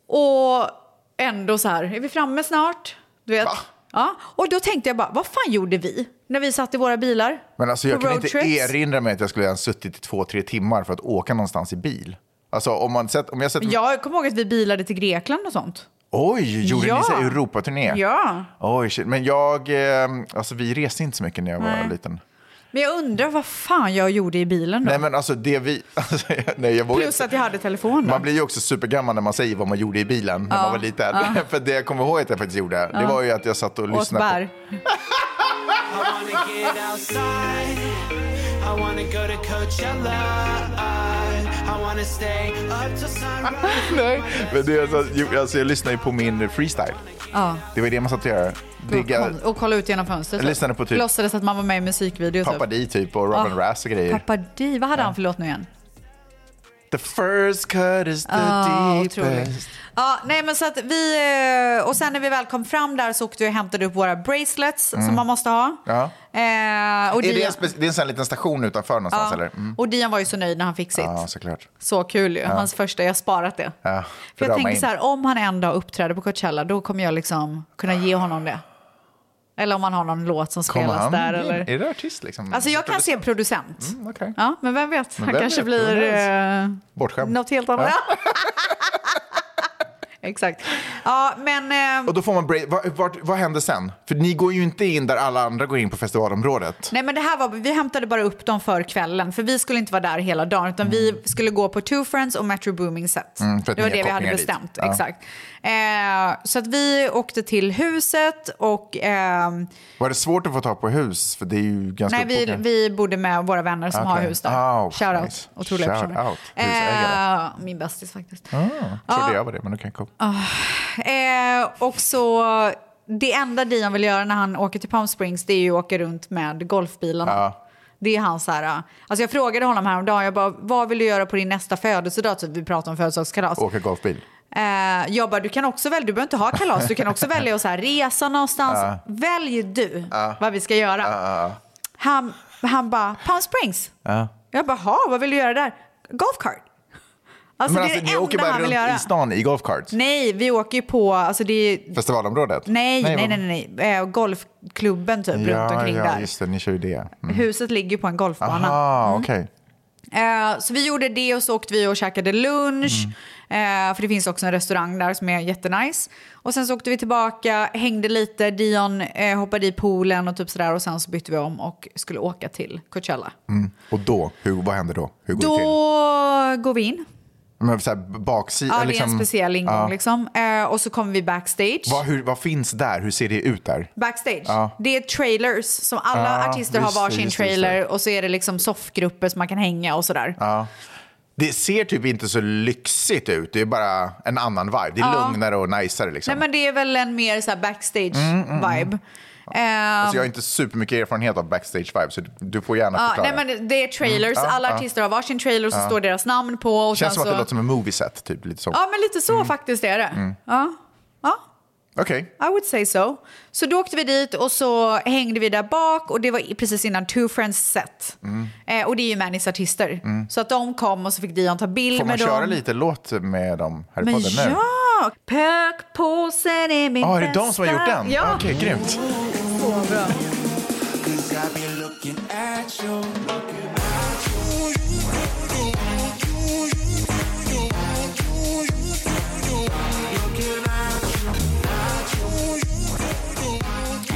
Speaker 1: Och ändå så här, är vi framme snart? Du vet.
Speaker 2: Va?
Speaker 1: Ja. Och då tänkte jag bara, vad fan gjorde vi när vi satt i våra bilar?
Speaker 2: Men alltså, jag
Speaker 1: på
Speaker 2: kan inte
Speaker 1: roadtrips?
Speaker 2: erinra mig att jag skulle ens suttit i två, tre timmar för att åka någonstans i bil. Alltså om, man sett, om jag sett...
Speaker 1: Jag kommer ihåg att vi bilade till Grekland och sånt.
Speaker 2: Oj, gjorde
Speaker 1: Ja.
Speaker 2: ni så här Europaturné?
Speaker 1: Ja.
Speaker 2: Oj, shit. Men jag... Eh, alltså vi reste inte så mycket när jag var liten.
Speaker 1: Men jag undrar vad fan jag gjorde i bilen då.
Speaker 2: Nej men alltså det vi... Alltså, nej, jag vågar
Speaker 1: Plus
Speaker 2: inte-
Speaker 1: att jag hade telefonen.
Speaker 2: Man blir ju också supergammal när man säger vad man gjorde i bilen när man var liten. För det jag kommer ihåg att jag faktiskt gjorde, det var ju att jag satt och
Speaker 1: Åt
Speaker 2: lyssnade
Speaker 1: bär.
Speaker 2: på...
Speaker 7: I wanna get outside. I wanna go to Coachella. I wanna stay up till sunrise.
Speaker 2: Nej, men det, är alltså, jo, alltså, jag lyssnade ju på min freestyle. Det var det man satt och göra. Digga
Speaker 1: Och, och kolla ut genom fönstret.
Speaker 2: Jag lyssnade på typ-
Speaker 1: Låtsades att man var med i musikvideo.
Speaker 2: Pappa
Speaker 1: typ.
Speaker 2: D typ och Robin
Speaker 1: Ja.
Speaker 2: Rass och grejer.
Speaker 1: Pappa Di, vad hade han för låt nu igen?
Speaker 2: The first cut is the
Speaker 1: Ja,
Speaker 2: deepest.
Speaker 1: Ja, nej men så att vi, eh, och sen när vi väl kom fram där så åkte vi och hämtade upp våra bracelets som man måste ha.
Speaker 2: Mm. Ja.
Speaker 1: Eh, och,
Speaker 2: Är det,
Speaker 1: Dion,
Speaker 2: en spec- det är en sån här liten station utanför någonstans eller? Mm.
Speaker 1: och Dion var ju så nöjd när han fick sitt.
Speaker 2: Ja, såklart.
Speaker 1: Så kul ju, hans första, jag har sparat det.
Speaker 2: Ja,
Speaker 1: För
Speaker 2: rama
Speaker 1: jag tänker
Speaker 2: in.
Speaker 1: så här, om han en dag uppträder på Coachella då kommer jag liksom kunna ge honom det. Eller om man har någon låt som
Speaker 2: Kommer
Speaker 1: spelas
Speaker 2: han?
Speaker 1: där.
Speaker 2: in?
Speaker 1: Eller...
Speaker 2: Är det artist liksom?
Speaker 1: Alltså jag kan se en producent.
Speaker 2: Mm, okej.
Speaker 1: Ja, men vem vet, han
Speaker 2: vem
Speaker 1: kanske
Speaker 2: vet?
Speaker 1: blir
Speaker 2: Who
Speaker 1: eh,
Speaker 2: Bortskämd.
Speaker 1: något helt annat. Exakt. Ja, men... Eh,
Speaker 2: Och då får man break. Vad, vart, vad händer sen? För ni går ju inte in där alla andra går in på festivalområdet.
Speaker 1: Nej men det här var, vi hämtade bara upp dem för kvällen för vi skulle inte vara där hela dagen utan vi skulle gå på Two Friends och Metro Booming Set.
Speaker 2: Mm, för att
Speaker 1: det var
Speaker 2: ni har
Speaker 1: det vi hade
Speaker 2: kopplingar dit.
Speaker 1: bestämt,
Speaker 2: Ja.
Speaker 1: exakt. Eh, så att vi åkte till huset och ehm,
Speaker 2: Var det svårt att få tag på hus? För det är ju ganska
Speaker 1: Nej, vi,
Speaker 2: uppbokningar.
Speaker 1: vi bodde med våra vänner som
Speaker 2: Okej.
Speaker 1: har hus där.
Speaker 2: Oh,
Speaker 1: Shoutout,
Speaker 2: nice.
Speaker 1: otroliga
Speaker 2: Shout
Speaker 1: personer.
Speaker 2: out, husägare.
Speaker 1: Eh, min bästis faktiskt.
Speaker 2: Trodde jag var det, men okej. cool.
Speaker 1: Eh, och så, det enda Dion vill göra när han åker till Palm Springs det är ju att åka runt med golfbilarna.
Speaker 2: Ja.
Speaker 1: Det är hans så här, eh, alltså jag frågade honom häromdagen, jag bara, vad vill du göra på din nästa födelsedag? Typ, vi pratar om födelsedagskalas.
Speaker 2: Åka golfbil.
Speaker 1: Eh, jag bara, du kan också välja, du behöver inte ha kalas, du kan också välja att så här, resa någonstans. Välj du vad vi ska göra. Han, han bara, Palm Springs. Jag bara, ha, vad vill du göra där? Golfkart. Alltså
Speaker 2: men
Speaker 1: det är
Speaker 2: alltså,
Speaker 1: det
Speaker 2: ni åker
Speaker 1: enda
Speaker 2: bara
Speaker 1: han
Speaker 2: runt
Speaker 1: vill göra.
Speaker 2: i stan i golfkarts?
Speaker 1: Nej, vi åker ju på, alltså det är,
Speaker 2: Festivalområdet?
Speaker 1: nej, nej,
Speaker 2: vad-
Speaker 1: nej, nej, nej. Eh, golfklubben typ runt
Speaker 2: Ja,
Speaker 1: omkring
Speaker 2: ja,
Speaker 1: där.
Speaker 2: just det. Ni kör ju det. Mm.
Speaker 1: Huset ligger ju på en golfbana.
Speaker 2: Aha, okej.
Speaker 1: Eh, så vi gjorde det och så åkte vi och käkade lunch.
Speaker 2: Mm.
Speaker 1: Eh, för det finns också en restaurang där som är jättenice. Och sen så åkte vi tillbaka, hängde lite, Dion eh, hoppade i poolen och typ sådär. Och sen så bytte vi om och skulle åka till Coachella.
Speaker 2: Mm. Och då, hur, vad händer då? Hur går
Speaker 1: Då
Speaker 2: det till?
Speaker 1: går vi in.
Speaker 2: Men så här, baksida,
Speaker 1: Ja, det är
Speaker 2: liksom,
Speaker 1: en speciell ingång
Speaker 2: Ja.
Speaker 1: liksom. Eh, och så kommer vi backstage.
Speaker 2: Vad, hur, vad finns där? Hur ser det ut där?
Speaker 1: Backstage.
Speaker 2: Ja.
Speaker 1: Det är trailers. Som alla
Speaker 2: Ja,
Speaker 1: artister
Speaker 2: just
Speaker 1: har
Speaker 2: det,
Speaker 1: varsin
Speaker 2: just det, just
Speaker 1: trailer
Speaker 2: det.
Speaker 1: och så är det liksom soffgrupper som man kan hänga och sådär.
Speaker 2: Det ser typ inte så lyxigt ut. Det är bara en annan vibe. Det är lugnare och najsare. Liksom.
Speaker 1: Nej men det är väl en mer så här backstage
Speaker 2: Mm,
Speaker 1: vibe. Eh,
Speaker 2: alltså, jag har inte supermycket erfarenhet av backstage vibe, så du- du får gärna
Speaker 1: Ja,
Speaker 2: förklara.
Speaker 1: nej men det är trailers,
Speaker 2: Mm, ja,
Speaker 1: alla
Speaker 2: ja.
Speaker 1: artister har varsin trailer och så står deras namn på. Och
Speaker 2: Känns
Speaker 1: sen
Speaker 2: som att
Speaker 1: så...
Speaker 2: det låter Mm. som en movieset. Typ, lite så.
Speaker 1: alltså- Ja men lite så faktiskt är det. Ja. ja,
Speaker 2: Okej.
Speaker 1: I would say so. Så då åkte vi dit och så hängde vi där bak och det var i- precis innan Two Friends set.
Speaker 2: Mm.
Speaker 1: Eh, och det är ju Mannys artister. Så att de kom och så fick Dion ta bild
Speaker 2: Får man
Speaker 1: med
Speaker 2: köra
Speaker 1: dem.
Speaker 2: lite låt med dem här i
Speaker 1: Men
Speaker 2: podden nu?
Speaker 1: ja! Pökpåsen är min
Speaker 2: Ja, är det
Speaker 1: bästa...
Speaker 2: de som har gjort den?
Speaker 1: Ja,
Speaker 2: Okej, grymt.
Speaker 1: så bra.
Speaker 7: Cause I've been looking at you.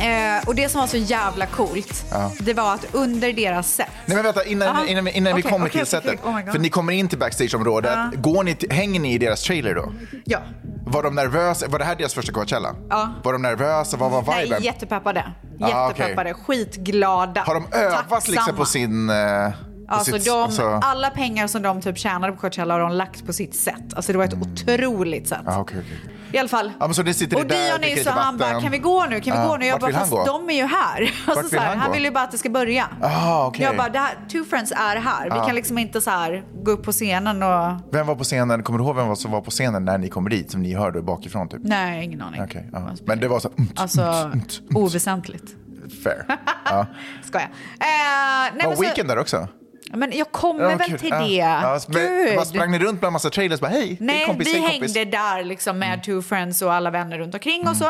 Speaker 1: Eh, och det som var så jävla coolt, det var att under deras set...
Speaker 2: Nej men vänta,
Speaker 1: Aha.
Speaker 2: innan, innan, vi- innan vi
Speaker 1: Okej,
Speaker 2: kommer
Speaker 1: okej,
Speaker 2: till
Speaker 1: okej,
Speaker 2: setet.
Speaker 1: okej. Oh my God.
Speaker 2: för ni kommer in till backstageområdet. Går ni till, hänger ni i deras trailer då?
Speaker 1: Ja.
Speaker 2: Var de nervösa? Var det här deras första Coachella?
Speaker 1: Ja.
Speaker 2: Var de nervösa? Vad var
Speaker 1: Nej,
Speaker 2: viben?
Speaker 1: jättepeppade.
Speaker 2: Ah, okej.
Speaker 1: Jättepeppade, skitglada.
Speaker 2: Har de övat liksom på sin... eh, på
Speaker 1: Alltså
Speaker 2: sitt-
Speaker 1: de,
Speaker 2: alltså-
Speaker 1: Alla pengar som de typ tjänade på Coachella har de lagt på sitt sätt. Alltså det var ett otroligt sätt.
Speaker 2: Mm. Ja, okej, okej.
Speaker 1: I alla fall.
Speaker 2: Ja, men så det sitter
Speaker 1: och
Speaker 2: det där,
Speaker 1: Dion är
Speaker 2: dricker
Speaker 1: ju så,
Speaker 2: lite
Speaker 1: han
Speaker 2: vatten.
Speaker 1: bara, kan vi gå nu? Kan vi
Speaker 2: Ja,
Speaker 1: gå nu? Jag
Speaker 2: vart
Speaker 1: bara,
Speaker 2: vill han
Speaker 1: fast
Speaker 2: gå?
Speaker 1: de är ju här. Alltså,
Speaker 2: vill
Speaker 1: så här
Speaker 2: han
Speaker 1: han,
Speaker 2: gå?
Speaker 1: vill ju bara att det ska börja.
Speaker 2: Ah, okej.
Speaker 1: Jag bara, det här, Two Friends är här. Vi
Speaker 2: Ja.
Speaker 1: kan liksom inte så här gå upp på scenen och...
Speaker 2: Vem var på scenen? Kommer du ihåg vem var- som var på scenen när ni kommer dit? Som ni hörde bakifrån typ?
Speaker 1: Nej, ingen aning.
Speaker 2: Okej, ja. Men det var så... Mm,
Speaker 1: Alltså,
Speaker 2: mm, mm, mm,
Speaker 1: oväsentligt.
Speaker 2: fair. Ja.
Speaker 1: Skojar. Eh, nej,
Speaker 2: Var
Speaker 1: men, så-
Speaker 2: Weekend där också?
Speaker 1: men jag kommer
Speaker 2: Ja,
Speaker 1: väl
Speaker 2: kul.
Speaker 1: till
Speaker 2: Ja.
Speaker 1: det.
Speaker 2: Ja, men,
Speaker 1: Gud.
Speaker 2: vad sprang ni runt bland massa trailers? Bara, hej, det är
Speaker 1: Nej,
Speaker 2: kompis,
Speaker 1: vi
Speaker 2: det är
Speaker 1: hängde
Speaker 2: kompis. Mm.
Speaker 1: där liksom med two friends och alla vänner runt omkring och så.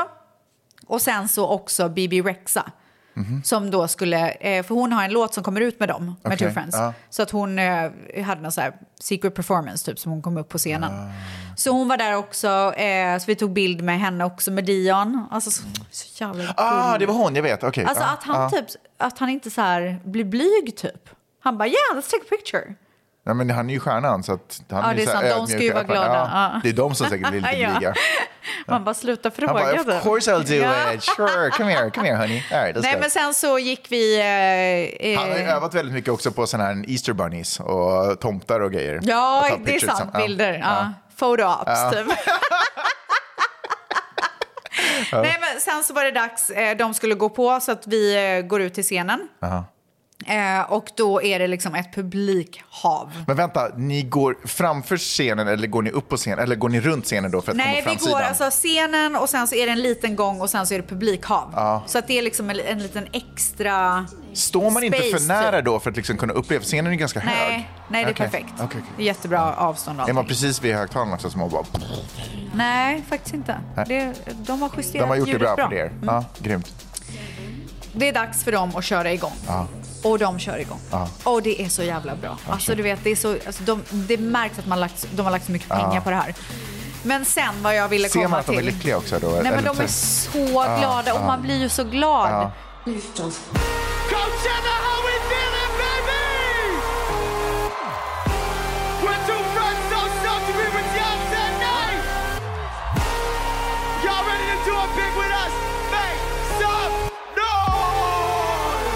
Speaker 1: Och sen så också Bibi Rexa.
Speaker 2: Mm-hmm.
Speaker 1: Som då skulle, eh, för hon har en låt som kommer ut med dem, med
Speaker 2: Okej,
Speaker 1: two friends.
Speaker 2: ja.
Speaker 1: Så att hon eh, hade någon så här secret performance typ som hon kom upp på scenen.
Speaker 2: Ah.
Speaker 1: Så hon var där också, eh, så vi tog bild med henne också, med Dion. Alltså så, så jävla gullig.
Speaker 2: Ah, det var hon, jag vet. Okej.
Speaker 1: Alltså
Speaker 2: ja,
Speaker 1: att han
Speaker 2: ja.
Speaker 1: typ, att han inte så här blir blyg typ. Han bara yeah, let's take a picture.
Speaker 2: Ja, men han är ju stjärnan så att han
Speaker 1: Ja,
Speaker 2: är,
Speaker 1: det är
Speaker 2: så här
Speaker 1: sant. De ska ju
Speaker 2: ödmjuk i alla
Speaker 1: vara
Speaker 2: fall.
Speaker 1: glada.
Speaker 2: Ja,
Speaker 1: Ja.
Speaker 2: Det är de som säkert vill lite
Speaker 1: Ah, Ja.
Speaker 2: blyga.
Speaker 1: Man bara sluta fråga.
Speaker 2: Han bara, of
Speaker 1: typ."
Speaker 2: course I'll do
Speaker 1: Ja.
Speaker 2: it. Sure, come here, come here honey. All right, let's
Speaker 1: Nej
Speaker 2: go.
Speaker 1: men sen så gick vi... eh, Eh,
Speaker 2: Han har ju övat väldigt mycket också på sådana här Easter bunnies och tomtar och grejer. Och
Speaker 1: Ja
Speaker 2: ta
Speaker 1: det är sant,
Speaker 2: pictures som- ja.
Speaker 1: bilder. Ja. Photo ops typ. Nej men sen så var det dags, eh, de skulle gå på så att vi eh, går ut till scenen. Eh, och då är det liksom ett publikhav.
Speaker 2: Men vänta, ni går framför scenen eller går ni upp på scenen eller går ni runt scenen då för att
Speaker 1: Nej,
Speaker 2: komma
Speaker 1: vi
Speaker 2: fram
Speaker 1: går alltså scenen och sen så är det en liten gång och sen så är det publikhav. Så att det är liksom en, en liten extra...
Speaker 2: Står man inte
Speaker 1: space,
Speaker 2: för nära
Speaker 1: typ.
Speaker 2: då för att liksom kunna uppleva? Scenen är ju ganska hög.
Speaker 1: Nej, nej det är
Speaker 2: Okej.
Speaker 1: perfekt.
Speaker 2: Okej, okej.
Speaker 1: Det är Jättebra avstånd och
Speaker 2: Är man
Speaker 1: allting.
Speaker 2: precis vid högtalarna också som man bara...
Speaker 1: Nej, faktiskt inte. Det, de har justerat
Speaker 2: De har gjort det
Speaker 1: ljudet
Speaker 2: bra för er. Ja, grymt.
Speaker 1: Det är dags för dem att köra igång. Och de kör igång. Och det är så jävla bra. Alltså, du vet, det, är så, alltså, de, det märks att man lagt, de har lagt så mycket pengar på det här. Men sen vad jag ville
Speaker 2: Ser
Speaker 1: komma
Speaker 2: man att de är
Speaker 1: till.
Speaker 2: lyckliga också då?
Speaker 1: Nej, men
Speaker 2: Eller
Speaker 1: de är
Speaker 2: så-
Speaker 1: så glada och man blir ju så glad.
Speaker 3: Coachella, how we feeling, baby? We're two friends so stoked to be with y'all tonight. Y'all ready to do it big with us? Make some noise!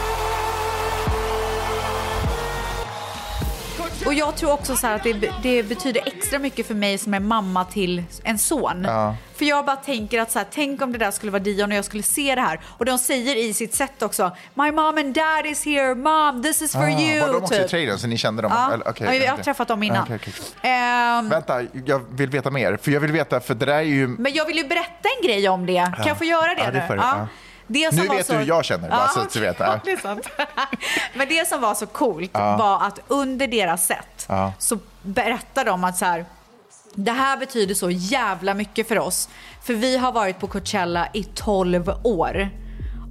Speaker 1: Och jag tror också så här att det, det betyder extra mycket för mig som är mamma till en son. För jag bara tänker att så här, tänk om det där skulle vara Dion och jag skulle se det här. Och de säger i sitt sätt också, my mom and dad is here, mom this is for you. typ.
Speaker 2: Var Ah, de också i trailern så ni kände dem?
Speaker 1: Ja,
Speaker 2: Eller- okej,
Speaker 1: Ja, jag har
Speaker 2: okej.
Speaker 1: träffat dem innan.
Speaker 2: Okej, okej, okej.
Speaker 1: Ehm,
Speaker 2: Vänta, jag vill veta mer. För jag vill veta, för det där är ju...
Speaker 1: men jag vill ju berätta en grej om det. Kan jag få göra det,
Speaker 2: Mm. Ja, det
Speaker 1: nu?
Speaker 2: får du. Ja.
Speaker 1: Det
Speaker 2: Nu
Speaker 1: var
Speaker 2: vet du hur jag känner, bara så att du
Speaker 1: okej.
Speaker 2: vet. Ja.
Speaker 1: det är sant. Men det som var så coolt var att under deras sätt
Speaker 2: Ja.
Speaker 1: så berättar de att så här, det här betyder så jävla mycket för oss. För vi har varit på Coachella i 12 år.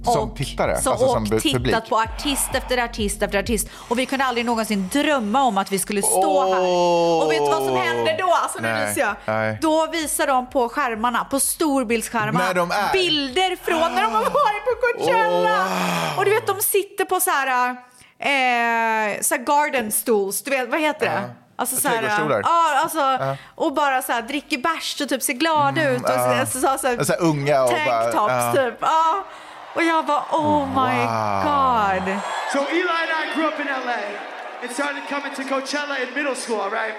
Speaker 2: Som tittare,
Speaker 1: Så,
Speaker 2: alltså
Speaker 1: och
Speaker 2: som bu-
Speaker 1: tittat
Speaker 2: publik.
Speaker 1: på artist efter artist efter artist. Och vi kunde aldrig någonsin drömma om att vi skulle stå här. Och vet du vad som hände då? Alltså, nu
Speaker 2: Nej,
Speaker 1: ryser jag.
Speaker 2: nej.
Speaker 1: Då visar de på skärmarna, på storbildsskärmarna,
Speaker 2: När de är.
Speaker 1: bilder från när de har varit på Coachella. Och du vet, de sitter på så här, eh, så här garden stools, du vet, vad heter det? Alltså, så här,
Speaker 2: Trädgårdsstolar.
Speaker 1: ja, alltså, Och bara så här, dricker bärs och typ ser glada ut. Och
Speaker 2: Mm, ja.
Speaker 1: så, så, så, här,
Speaker 2: Så här unga och bara-
Speaker 1: Tanktops
Speaker 2: ja.
Speaker 1: typ. Ja. Och jag bara oh my god.
Speaker 3: So Eli and I grew up in LA and started coming to Coachella in middle school, all right?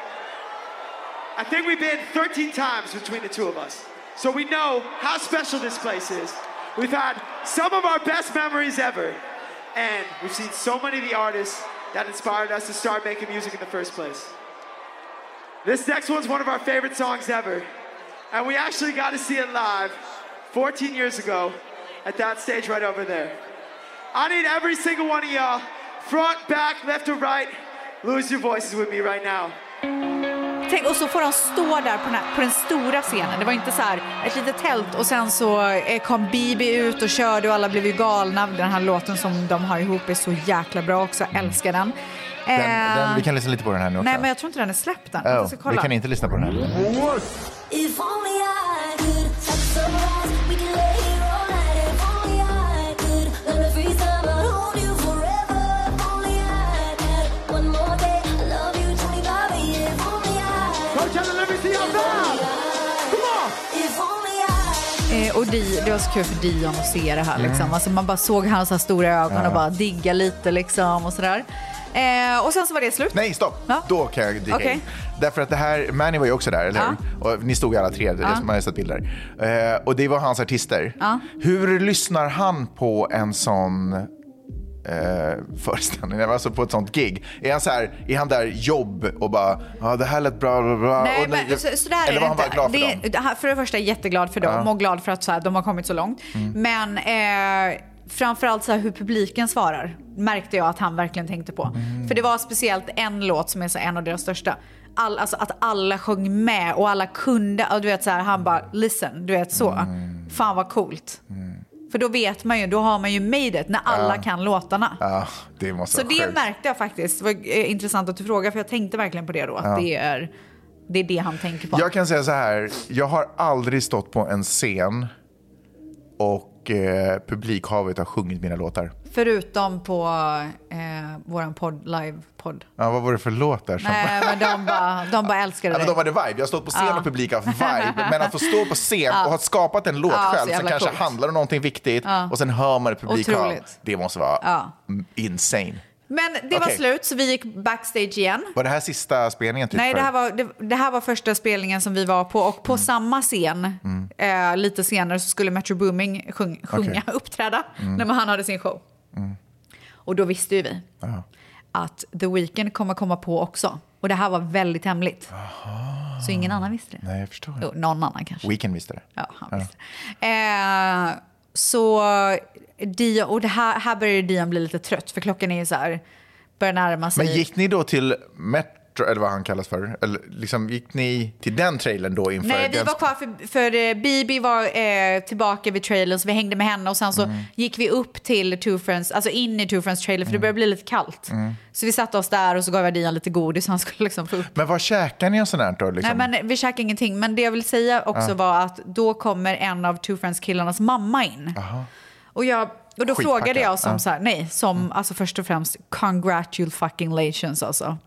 Speaker 3: I think we've been 13 times between the two of us. So we know how special this place is. We've had some of our best memories ever. And we've seen so many of the artists that inspired us to start making music in the first place. This next one's one of our favorite songs ever. And we actually got to see it live 14 years ago at that stage right over there. I need every single one of y'all, front, back, left, or right, lose your voices with me right now.
Speaker 1: Tänk, och så får de stå där på den, här, på den stora scenen. Det var inte så här ett litet tält och sen så eh, kom Bibi ut och körde och alla blev ju galna. Den här låten som de har ihop är så jäkla bra också. Jag älskar den. Eh,
Speaker 2: Den, den, vi kan lyssna lite på den här nu också.
Speaker 1: Nej men jag tror inte den är släppt än.
Speaker 2: Oh,
Speaker 1: Jag ska
Speaker 2: vi
Speaker 1: kolla.
Speaker 2: kan inte lyssna på den här.
Speaker 8: If only I could have sunrise, we could lay here all night. If only I could learn to freeze time, I'd hold you forever. If only I had one more day, I love you 25 years. If only I,
Speaker 3: Coachella, let me see y'all now. Come on.
Speaker 8: if only I.
Speaker 1: Eh, och Di, det var så kul för Dion att se det
Speaker 2: Mm.
Speaker 1: här. Liksom. Alltså, man bara såg hans så här stora ögon och bara digga lite liksom och sådär. Eh, och sen så var det slut.
Speaker 2: Nej, stopp!
Speaker 1: Ja.
Speaker 2: Då kan jag dyka
Speaker 1: Okej.
Speaker 2: in. Därför att det här, Manny var ju också där, eller hur? Och ni stod ju alla tre, det är som man har sett bilder. Eh, och det var hans artister. Hur lyssnar han på en sån eh, föreställning, alltså på ett sånt gig? Är han, så här, är han där jobb och bara, ja ah, det här lät bra, bra, bra.
Speaker 1: Nej,
Speaker 2: och, nu-
Speaker 1: men, så, sådär är det
Speaker 2: eller var han
Speaker 1: inte.
Speaker 2: bara glad för dem?
Speaker 1: det, dem? För det första är jag jätteglad för dem och glad för att så här, de har kommit så långt.
Speaker 2: Mm.
Speaker 1: Men eh, framförallt så här, hur publiken svarar märkte jag att han verkligen tänkte på.
Speaker 2: Mm.
Speaker 1: För det var speciellt en låt som är så här, en av deras största. All, alltså att alla sjöng med och alla kunde. Och du vet så här, han bara listen, du vet så.
Speaker 2: Mm.
Speaker 1: Fan vad coolt. För då vet man ju, då har man ju made it när alla kan låtarna.
Speaker 2: Ja, det måste
Speaker 1: Så
Speaker 2: vara
Speaker 1: det
Speaker 2: sjukt.
Speaker 1: märkte jag faktiskt. Det var eh, intressant att du frågar för jag tänkte verkligen på det då. Att det, är, det är det han tänker på.
Speaker 2: Jag kan säga så här, jag har aldrig stått på en scen och eh, publikhavet har sjungit mina låtar.
Speaker 1: Förutom på eh, våran podd, live-podd.
Speaker 2: Ja, vad var det för låt där? Som...
Speaker 1: Nej, men de bara, de bara älskade
Speaker 2: Ja, men
Speaker 1: dig.
Speaker 2: de hade vibe. Jag har stått på scen och publik har vibe. Men att få stå på scen och ha skapat en låt
Speaker 1: Ja, så
Speaker 2: själv som
Speaker 1: jävla
Speaker 2: kanske
Speaker 1: coolt.
Speaker 2: handlar om någonting viktigt och sen hör man det publikhav.
Speaker 1: Otroligt.
Speaker 2: Det måste vara
Speaker 1: Ja.
Speaker 2: m- insane.
Speaker 1: Men det var
Speaker 2: Okej.
Speaker 1: slut, så vi gick backstage igen.
Speaker 2: Var det här sista spelningen? Typ,
Speaker 1: Nej,
Speaker 2: för- Mm.
Speaker 1: det här, var, det, det här var första spelningen som vi var på och på samma scen eh, lite senare så skulle Metro Booming sjung, sjunga, uppträda när
Speaker 2: Mm.
Speaker 1: man- han hade sin show. Och då visste ju vi att The Weeknd kommer komma på också. Och det här var väldigt hemligt. Så ingen annan visste det.
Speaker 2: Nej, jag förstår.
Speaker 1: Jo, någon annan kanske.
Speaker 2: Weekend visste det.
Speaker 1: Ja, han visste. Eh, så Dion, och det här, här började Dion bli lite trött för klockan är ju så här, börjar närma sig.
Speaker 2: Men gick ni då till Met Short, eller vad han kallas för. Eller, liksom, gick ni till den trailern då inför?
Speaker 1: Nej, vi
Speaker 2: den-
Speaker 1: var kvar för, för eh, Bibi var eh, tillbaka vid trailern så vi hängde med henne och sen så
Speaker 2: Mm.
Speaker 1: gick vi upp till Two Friends, alltså in i Two Friends trailer för det började bli lite kallt.
Speaker 2: Mm.
Speaker 1: Så vi satte oss där och så gav jag Dian lite godis så han skulle liksom få upp.
Speaker 2: Men vad käkar ni och sånt där då? Liksom?
Speaker 1: Nej men vi käkade ingenting, men det jag vill säga också var att då kommer en av Two Friends killarnas mamma in. Och, jag, och då
Speaker 2: Skitpackad.
Speaker 1: frågade jag som
Speaker 2: Ja. Mm.
Speaker 1: så här, nej, som alltså först och främst congratulations alltså.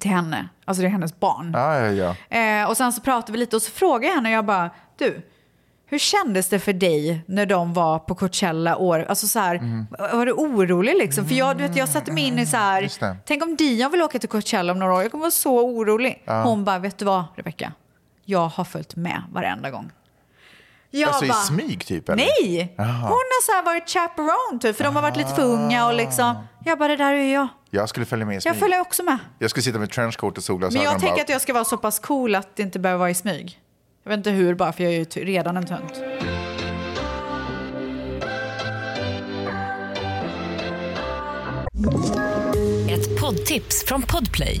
Speaker 1: Till henne, alltså det är hennes barn.
Speaker 2: Ja, ja, ja.
Speaker 1: Eh, och sen så pratade vi lite och så frågade jag henne och jag bara, du, hur kändes det för dig när de var på Coachella år? Alltså så här,
Speaker 2: Mhm.
Speaker 1: var du orolig liksom? För jag, du vet, jag satte mig in i så här,
Speaker 2: Just det.
Speaker 1: tänk om Dion vill åka till Coachella om några år, jag kommer vara så orolig. Hon bara, vet du vad Rebecca? Jag har följt med varenda gång. Jag
Speaker 2: Alltså i
Speaker 1: bara,
Speaker 2: smyg typ? Eller?
Speaker 1: nej! Hon har så här varit chaperone typ, för de har varit lite för unga och liksom,
Speaker 2: Ah.
Speaker 1: jag bara, det där är ju jag.
Speaker 2: Jag skulle följa med i smyg.
Speaker 1: Jag
Speaker 2: Jag,
Speaker 1: följer också med.
Speaker 2: skulle sitta med trenchcoat och solglasögon.
Speaker 1: Men jag
Speaker 2: och
Speaker 1: tänker
Speaker 2: bara-
Speaker 1: att jag ska vara så pass cool att det inte behöver vara i smyg. Jag vet inte hur bara, för jag är ju ty- redan en tönt.
Speaker 5: Ett poddtips från Podplay.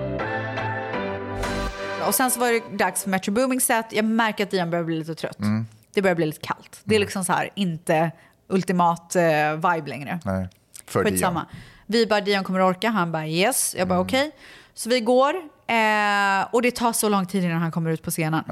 Speaker 1: Och sen så var det dags för Metro Booming Set. Jag märker att Dion börjar bli lite trött.
Speaker 2: Mm.
Speaker 1: Det börjar bli lite kallt. Det är liksom så här, inte ultimat eh, vibe längre.
Speaker 2: Nej, för
Speaker 1: Skitsamma.
Speaker 2: Dion. Mm.
Speaker 1: Vi bara, Dion kommer orka. Han bara yes. Jag bara okej. Så vi går. Eh, och det tar så lång tid innan han kommer ut på scenen.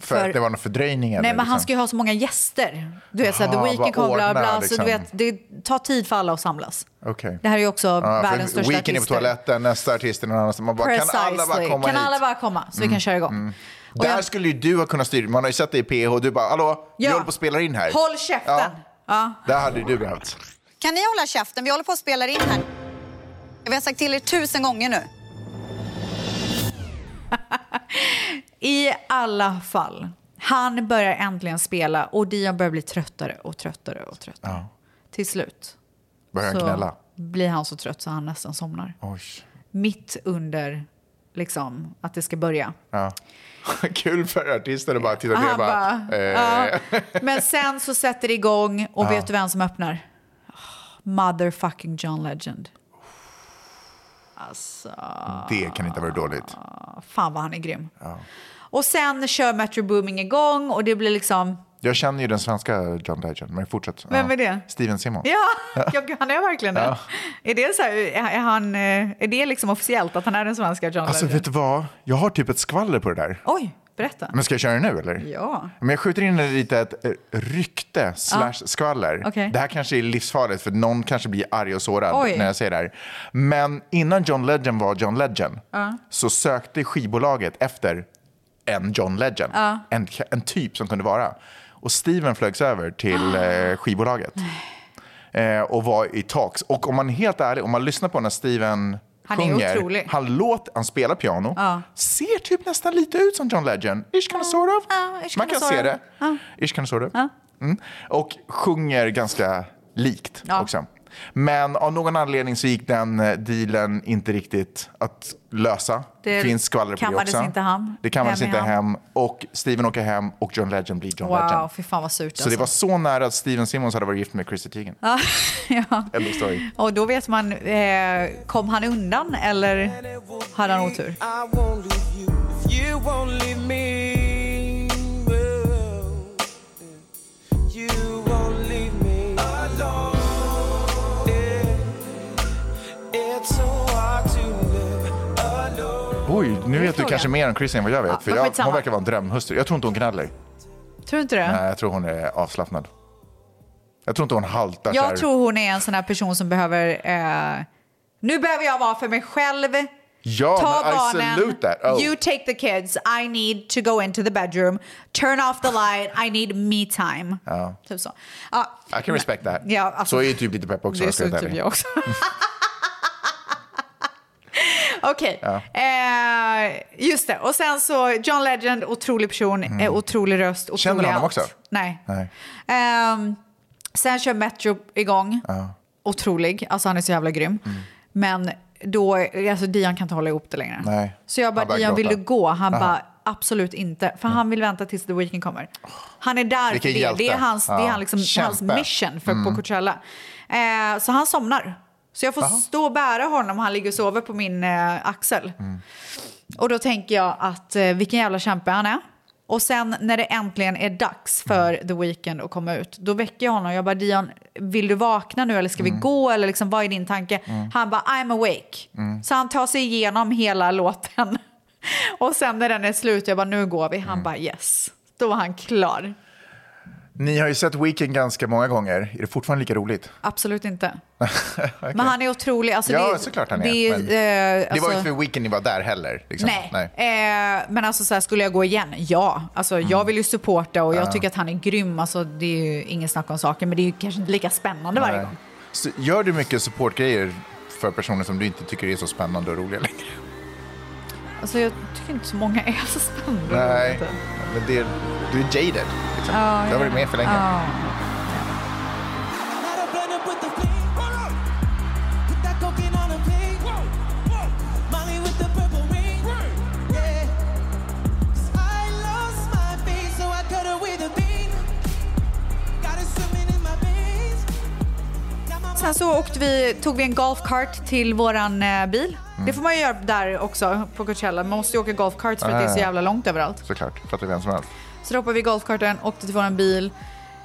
Speaker 2: För,
Speaker 1: För-
Speaker 2: att det var någon fördröjning? eller,
Speaker 1: Nej, men han
Speaker 2: liksom?
Speaker 1: ska ju ha så många gäster. Du vet, såhär,
Speaker 2: Aha,
Speaker 1: The Weeknd
Speaker 2: vad
Speaker 1: kommer, bla, bla,
Speaker 2: ordnar,
Speaker 1: bla. Så
Speaker 2: liksom.
Speaker 1: du vet, det tar tid för alla att samlas.
Speaker 2: Okej.
Speaker 1: Det här är ju också
Speaker 2: Ja, för
Speaker 1: världens största
Speaker 2: Weekend är på
Speaker 1: artister.
Speaker 2: toaletten, nästa artist är någon annanstans. Man bara,
Speaker 1: Precisely.
Speaker 2: kan alla bara komma
Speaker 1: Kan
Speaker 2: hit? Mm.
Speaker 1: alla bara komma så vi kan köra igång? Och
Speaker 2: Där
Speaker 1: jag-
Speaker 2: skulle ju du ha kunnat styra. Man har ju sett dig i PH och du bara, hallå, vi
Speaker 1: Ja.
Speaker 2: håller på att spela in här.
Speaker 1: Håll käften!
Speaker 2: Ja.
Speaker 1: Ja.
Speaker 2: Där hade ju du behövt.
Speaker 9: Kan ni hålla käften? Vi håller på att spela in här. Vi har sagt till er tusen gånger nu.
Speaker 1: I alla fall, han börjar äntligen spela och Dion börjar bli tröttare och tröttare och tröttare. Till slut
Speaker 2: Börjar han
Speaker 1: så
Speaker 2: gnälla?
Speaker 1: blir han så trött så han nästan somnar.
Speaker 2: Oj.
Speaker 1: Mitt under liksom, att det ska börja.
Speaker 2: Ja. Kul för artisten att bara titta
Speaker 1: Och
Speaker 2: ner och
Speaker 1: han
Speaker 2: bara...
Speaker 1: bara,
Speaker 2: eh,
Speaker 1: ja. Men sen så sätter det igång och vet du vem som öppnar? Ah, Motherfucking John Legend.
Speaker 2: Det kan inte vara dåligt.
Speaker 1: Fan vad han är grym. Och sen kör Metro Booming igång och det blir liksom...
Speaker 2: Jag känner ju den svenska John Legend, men fortsätt.
Speaker 1: Vem
Speaker 2: Ja.
Speaker 1: är det?
Speaker 2: Steven Simon.
Speaker 1: Ja, jag, han är verkligen det. Är det, så här, är han, eh, är det liksom officiellt att han är den svenska John
Speaker 2: Alltså,
Speaker 1: Legend?
Speaker 2: vet du vad? Jag har typ ett skvaller på det där.
Speaker 1: Oj, berätta.
Speaker 2: Men ska jag köra det nu eller?
Speaker 1: Ja.
Speaker 2: Men jag skjuter in lite ett eh, rykte slash skvaller.
Speaker 1: Okej.
Speaker 2: Det här kanske är livsfarligt för någon kanske blir arg och sårad
Speaker 1: Oj.
Speaker 2: när jag säger det här. Men innan John Legend var John Legend så sökte skivbolaget efter en John Legend. En, en typ som kunde vara. Och Steven flögs över
Speaker 1: Ah.
Speaker 2: till eh, skivbolaget. Eh, och var i talks. Och om man är helt ärlig, om man lyssnar på när Steven
Speaker 1: Han är
Speaker 2: sjunger,
Speaker 1: otrolig.
Speaker 2: han, låt, han spelar piano, ser typ nästan lite ut som John Legend. Ish kind of sort of.
Speaker 1: Ja, ish kinda
Speaker 2: Man kan
Speaker 1: sort
Speaker 2: se
Speaker 1: of.
Speaker 2: det. Ish kind of sort of. Mm. Och sjunger ganska likt
Speaker 1: Ja.
Speaker 2: också. Men av någon anledning så gick den eh, dealen inte riktigt att lösa.
Speaker 1: Det
Speaker 2: Det finns skvaller på det
Speaker 1: kammades
Speaker 2: också.
Speaker 1: inte hem.
Speaker 2: Det kammades
Speaker 1: Hem i
Speaker 2: inte
Speaker 1: hem.
Speaker 2: hem. Och Steven åker hem och John Legend blir John
Speaker 1: Wow, Alltså.
Speaker 2: Legend.
Speaker 1: fy fan vad surt
Speaker 2: Så det var så nära att Steven Simmons hade varit gift med Chrissy Teigen.
Speaker 1: ja.
Speaker 2: End of story.
Speaker 1: Och då vet man, eh, kom han undan eller hade han otur?
Speaker 7: I won't leave you if you won't leave me. Well, You won't leave me alone. Yeah. It's so hard to live alone.
Speaker 2: Oj, nu vet du
Speaker 1: frågan.
Speaker 2: kanske mer om Chrissy än vad jag vet.
Speaker 1: Ja,
Speaker 2: för
Speaker 1: men
Speaker 2: jag,
Speaker 1: skitsamma.
Speaker 2: hon verkar vara en drömhustru. Jag tror inte hon gnäller.
Speaker 1: Tror du inte det?
Speaker 2: Nej, jag tror hon är avslappnad. Jag tror inte hon haltar så här.
Speaker 1: Jag tror hon är en sån här person som behöver... Eh, nu behöver jag vara för mig själv.
Speaker 2: Ja,
Speaker 1: Ta
Speaker 2: men I
Speaker 1: barnen.
Speaker 2: salute that. Oh.
Speaker 1: You take the kids. I need to go into the bedroom. Turn off the light. I need me time. Ja. Typ så. Ja,
Speaker 2: I can respect that.
Speaker 1: Ja, alltså-
Speaker 2: så är ju typ lite pepp också.
Speaker 1: det
Speaker 2: jag ska
Speaker 1: såg
Speaker 2: vara
Speaker 1: typ
Speaker 2: ärlig.
Speaker 1: jag också. Okej.
Speaker 2: Ja.
Speaker 1: Eh, just det. Och sen så John Legend, otrolig person, eh, otrolig röst, otrolig
Speaker 2: Mm. Känner du honom
Speaker 1: allt.
Speaker 2: också?
Speaker 1: Nej.
Speaker 2: Nej.
Speaker 1: Ehm, sen kör Metro igång.
Speaker 2: Ja. Mm.
Speaker 1: Otrolig. Alltså han är så jävla grym. Men då, alltså Dion kan inte hålla ihop det längre.
Speaker 2: Nej.
Speaker 1: Så jag bara,
Speaker 2: Han börjar
Speaker 1: Dion vill
Speaker 2: gråta."
Speaker 1: du gå? Han
Speaker 2: Aha. Mm.
Speaker 1: bara, absolut inte. För han vill vänta tills The Weeknd kommer. Han är där
Speaker 2: Vilken
Speaker 1: för det.
Speaker 2: hjälte.
Speaker 1: Det är hans, det
Speaker 2: Ja.
Speaker 1: är han liksom, hans
Speaker 2: Kämpe.
Speaker 1: mission för,
Speaker 2: Mm.
Speaker 1: på Coachella. Eh, så han somnar. Så jag får
Speaker 2: Aha.
Speaker 1: stå och bära honom. Han ligger och sover på min eh, axel. Och då tänker jag att eh, vilken jävla kämpe han är. Och sen när det äntligen är dags för The Weeknd att komma ut, då väcker jag honom. Jag bara, Dion, vill du vakna nu eller ska vi gå? Eller liksom, vad är din tanke? Han bara, I'm awake. Så han tar sig igenom hela låten. Och sen när den är slut, jag bara, nu går vi. Han bara, yes. Då var han klar.
Speaker 2: Ni har ju sett Weekend ganska många gånger. Är det fortfarande lika roligt?
Speaker 1: Absolut inte.
Speaker 2: Okej.
Speaker 1: Men han är otrolig. Alltså,
Speaker 2: ja,
Speaker 1: det,
Speaker 2: såklart han är.
Speaker 1: Det,
Speaker 2: men
Speaker 1: eh,
Speaker 2: det var ju
Speaker 1: alltså-
Speaker 2: inte för Weekend ni var där heller. Liksom.
Speaker 1: Nej, Eh, men alltså så här, skulle jag gå igen? Ja, alltså, jag vill ju supporta och jag
Speaker 2: Mm. Ja.
Speaker 1: tycker att han är grym. Alltså, det är ju ingen snack om saken, men det är ju kanske inte lika spännande varje
Speaker 2: Nej.
Speaker 1: gång.
Speaker 2: Så gör du mycket supportgrejer för personer som du inte tycker är så spännande och roliga längre?
Speaker 1: Alltså, jag tycker inte så många är så spännande.
Speaker 2: Nej, men det, du är jaded. Liksom. du har varit med för länge.
Speaker 1: Ja.
Speaker 7: Put that cocaine on a plate. Molly with the purple ring. Yeah. 'Cause I lost my face, so I cut away the bean. Got it swimming in my veins. Got my
Speaker 1: Sen så åkte vi, tog vi en golfkart till våran eh, bil.
Speaker 2: Mm.
Speaker 1: Det får man ju göra där också på Coachella. Man måste ju åka golfkart för att det är så
Speaker 2: Ah.
Speaker 1: jävla långt överallt.
Speaker 2: Såklart, fattar vem som helst.
Speaker 1: Så då hoppade vi i golfkarten, åkte till våran bil,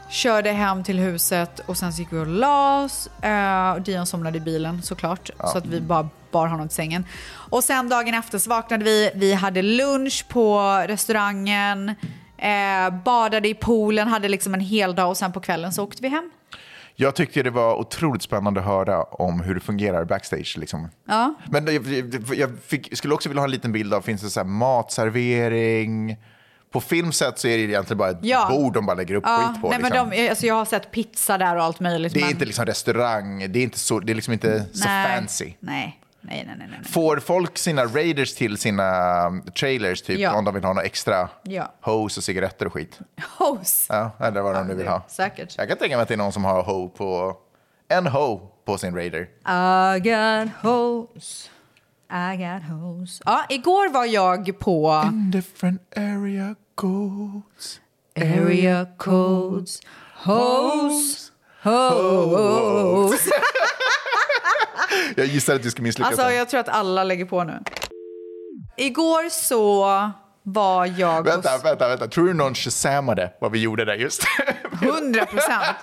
Speaker 1: körde hem till huset och sen så gick vi och la oss. Eh, och Dion somnade i bilen såklart, så att vi bara bar honom till sängen. Och sen dagen efter så vaknade vi, vi hade lunch på restaurangen, eh, badade i poolen, hade liksom en hel dag och sen på kvällen så åkte vi hem.
Speaker 2: Jag tyckte det var otroligt spännande att höra om hur det fungerar backstage. Liksom.
Speaker 1: Ja.
Speaker 2: Men jag, jag- jag fick, skulle också vilja ha en liten bild av, finns det så här matservering? På filmset så är det egentligen bara ett
Speaker 1: Ja.
Speaker 2: bord de bara lägger upp
Speaker 1: Ja,
Speaker 2: skit på.
Speaker 1: nej,
Speaker 2: liksom.
Speaker 1: men de, alltså jag har sett pizza där och allt möjligt.
Speaker 2: Det är
Speaker 1: men,
Speaker 2: inte liksom restaurang, det är, inte så, det är liksom inte så
Speaker 1: nej,
Speaker 2: fancy.
Speaker 1: Nej, nej, nej, nej. nej.
Speaker 2: Får folk sina raiders till sina um, trailers typ,
Speaker 1: Ja.
Speaker 2: om de vill ha något extra?
Speaker 1: Ja.
Speaker 2: Hose och cigaretter och skit.
Speaker 1: Hos.
Speaker 2: Ja, eller vad de nu vill ha.
Speaker 1: Säkert.
Speaker 2: Jag kan tänka mig att det är någon som har ho på, en ho på sin raider.
Speaker 1: I got hoes. I got hoes. Ja, igår var jag på
Speaker 2: different area codes.
Speaker 1: Area Codes Hoes. Hoes.
Speaker 2: Jag gissar att du ska misslyckas.
Speaker 1: Alltså,
Speaker 2: här.
Speaker 1: jag tror att alla lägger på nu. Igår så var jag
Speaker 2: Vänta, vänta, vänta. Tror du någon shazammade vad vi gjorde där just?
Speaker 1: hos 100 procent.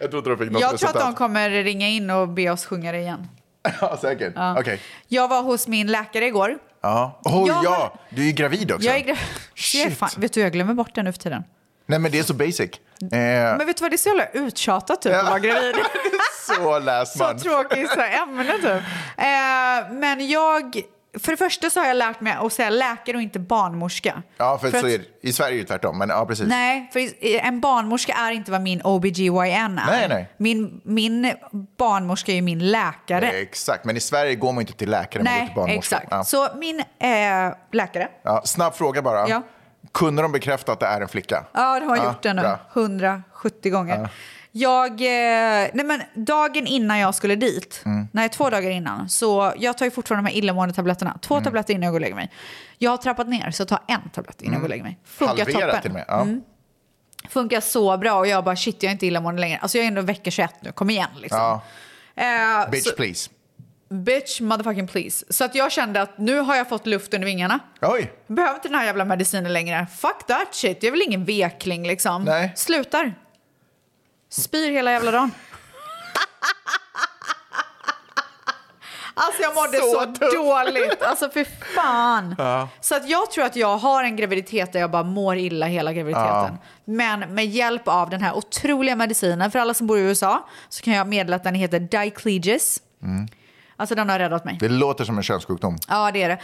Speaker 2: jag tror inte de fick något
Speaker 1: Jag tror att
Speaker 2: resultat.
Speaker 1: de kommer ringa in och be oss sjunga det igen.
Speaker 2: Ja, säkert.
Speaker 1: Ja.
Speaker 2: Okej.
Speaker 1: Jag var hos min läkare igår.
Speaker 2: Ja. Oh,
Speaker 1: Jag har-
Speaker 2: ja, du är ju gravid också.
Speaker 1: Jag är gra- jag är
Speaker 2: Shit.
Speaker 1: fan, vet du, jag glömmer bort det nu för tiden.
Speaker 2: Nej, men det är så basic. Eh,
Speaker 1: Men vet du vad, det är så jävla uttjatat typ att vara gravid.
Speaker 2: så läser
Speaker 1: Så
Speaker 2: man.
Speaker 1: tråkigt så här ämne typ. Eh, men jag, för det första så har jag lärt mig att säga läkare och inte barnmorska.
Speaker 2: Ja, för,
Speaker 1: För
Speaker 2: så
Speaker 1: att-
Speaker 2: är det. I Sverige är det tvärtom, men ja, precis.
Speaker 1: Nej, för i- en barnmorska är inte vad min OBGYN är.
Speaker 2: Nej, nej.
Speaker 1: Min, min barnmorska är ju min läkare.
Speaker 2: Exakt, men i Sverige går man inte till läkare, man går
Speaker 1: nej,
Speaker 2: till barnmorska.
Speaker 1: exakt.
Speaker 2: Ja.
Speaker 1: Så min eh, läkare,
Speaker 2: Ja, snabb fråga bara.
Speaker 1: Ja.
Speaker 2: Kunde de bekräfta att det är en flicka?
Speaker 1: Ja, det har jag gjort det nu.
Speaker 2: bra.
Speaker 1: 170 gånger. Jag, eh, nej men dagen innan jag skulle dit,
Speaker 2: Mm.
Speaker 1: nej två dagar innan, så jag tar ju fortfarande de här illamående-tabletterna.
Speaker 2: Mm.
Speaker 1: Två tabletter innan jag går och lägger mig. Jag har trappat ner så jag tar en tablett innan jag går och lägger mig. Funkar
Speaker 2: Halvera
Speaker 1: toppen.
Speaker 2: Mm.
Speaker 1: Mm,
Speaker 2: till och med. Ja.
Speaker 1: Funkar så bra och jag bara shit jag är inte illamående längre. Alltså jag är ändå vecka 21 nu, kom igen liksom.
Speaker 2: Ja.
Speaker 1: Eh,
Speaker 2: Bitch
Speaker 1: så,
Speaker 2: please.
Speaker 1: bitch motherfucking please. Så att jag kände att nu har jag fått luft under vingarna.
Speaker 2: Oj!
Speaker 1: Jag behöver inte den här jävla medicinen längre. Fuck that shit. Jag är väl ingen vekling liksom.
Speaker 2: Nej.
Speaker 1: Slutar. Spyr hela jävla dagen. Alltså jag mådde
Speaker 2: Så
Speaker 1: så,
Speaker 2: tufft.
Speaker 1: dåligt. Alltså för fan. Så att jag tror att jag har en graviditet där jag bara mår illa hela graviditeten. Men med hjälp av den här
Speaker 2: Mm.
Speaker 1: otroliga medicinen, för alla som bor i USA, så kan jag meddela att den heter Dicleges. Alltså den har räddat mig.
Speaker 2: Det låter som en könssjukdom.
Speaker 1: Ja, det är det.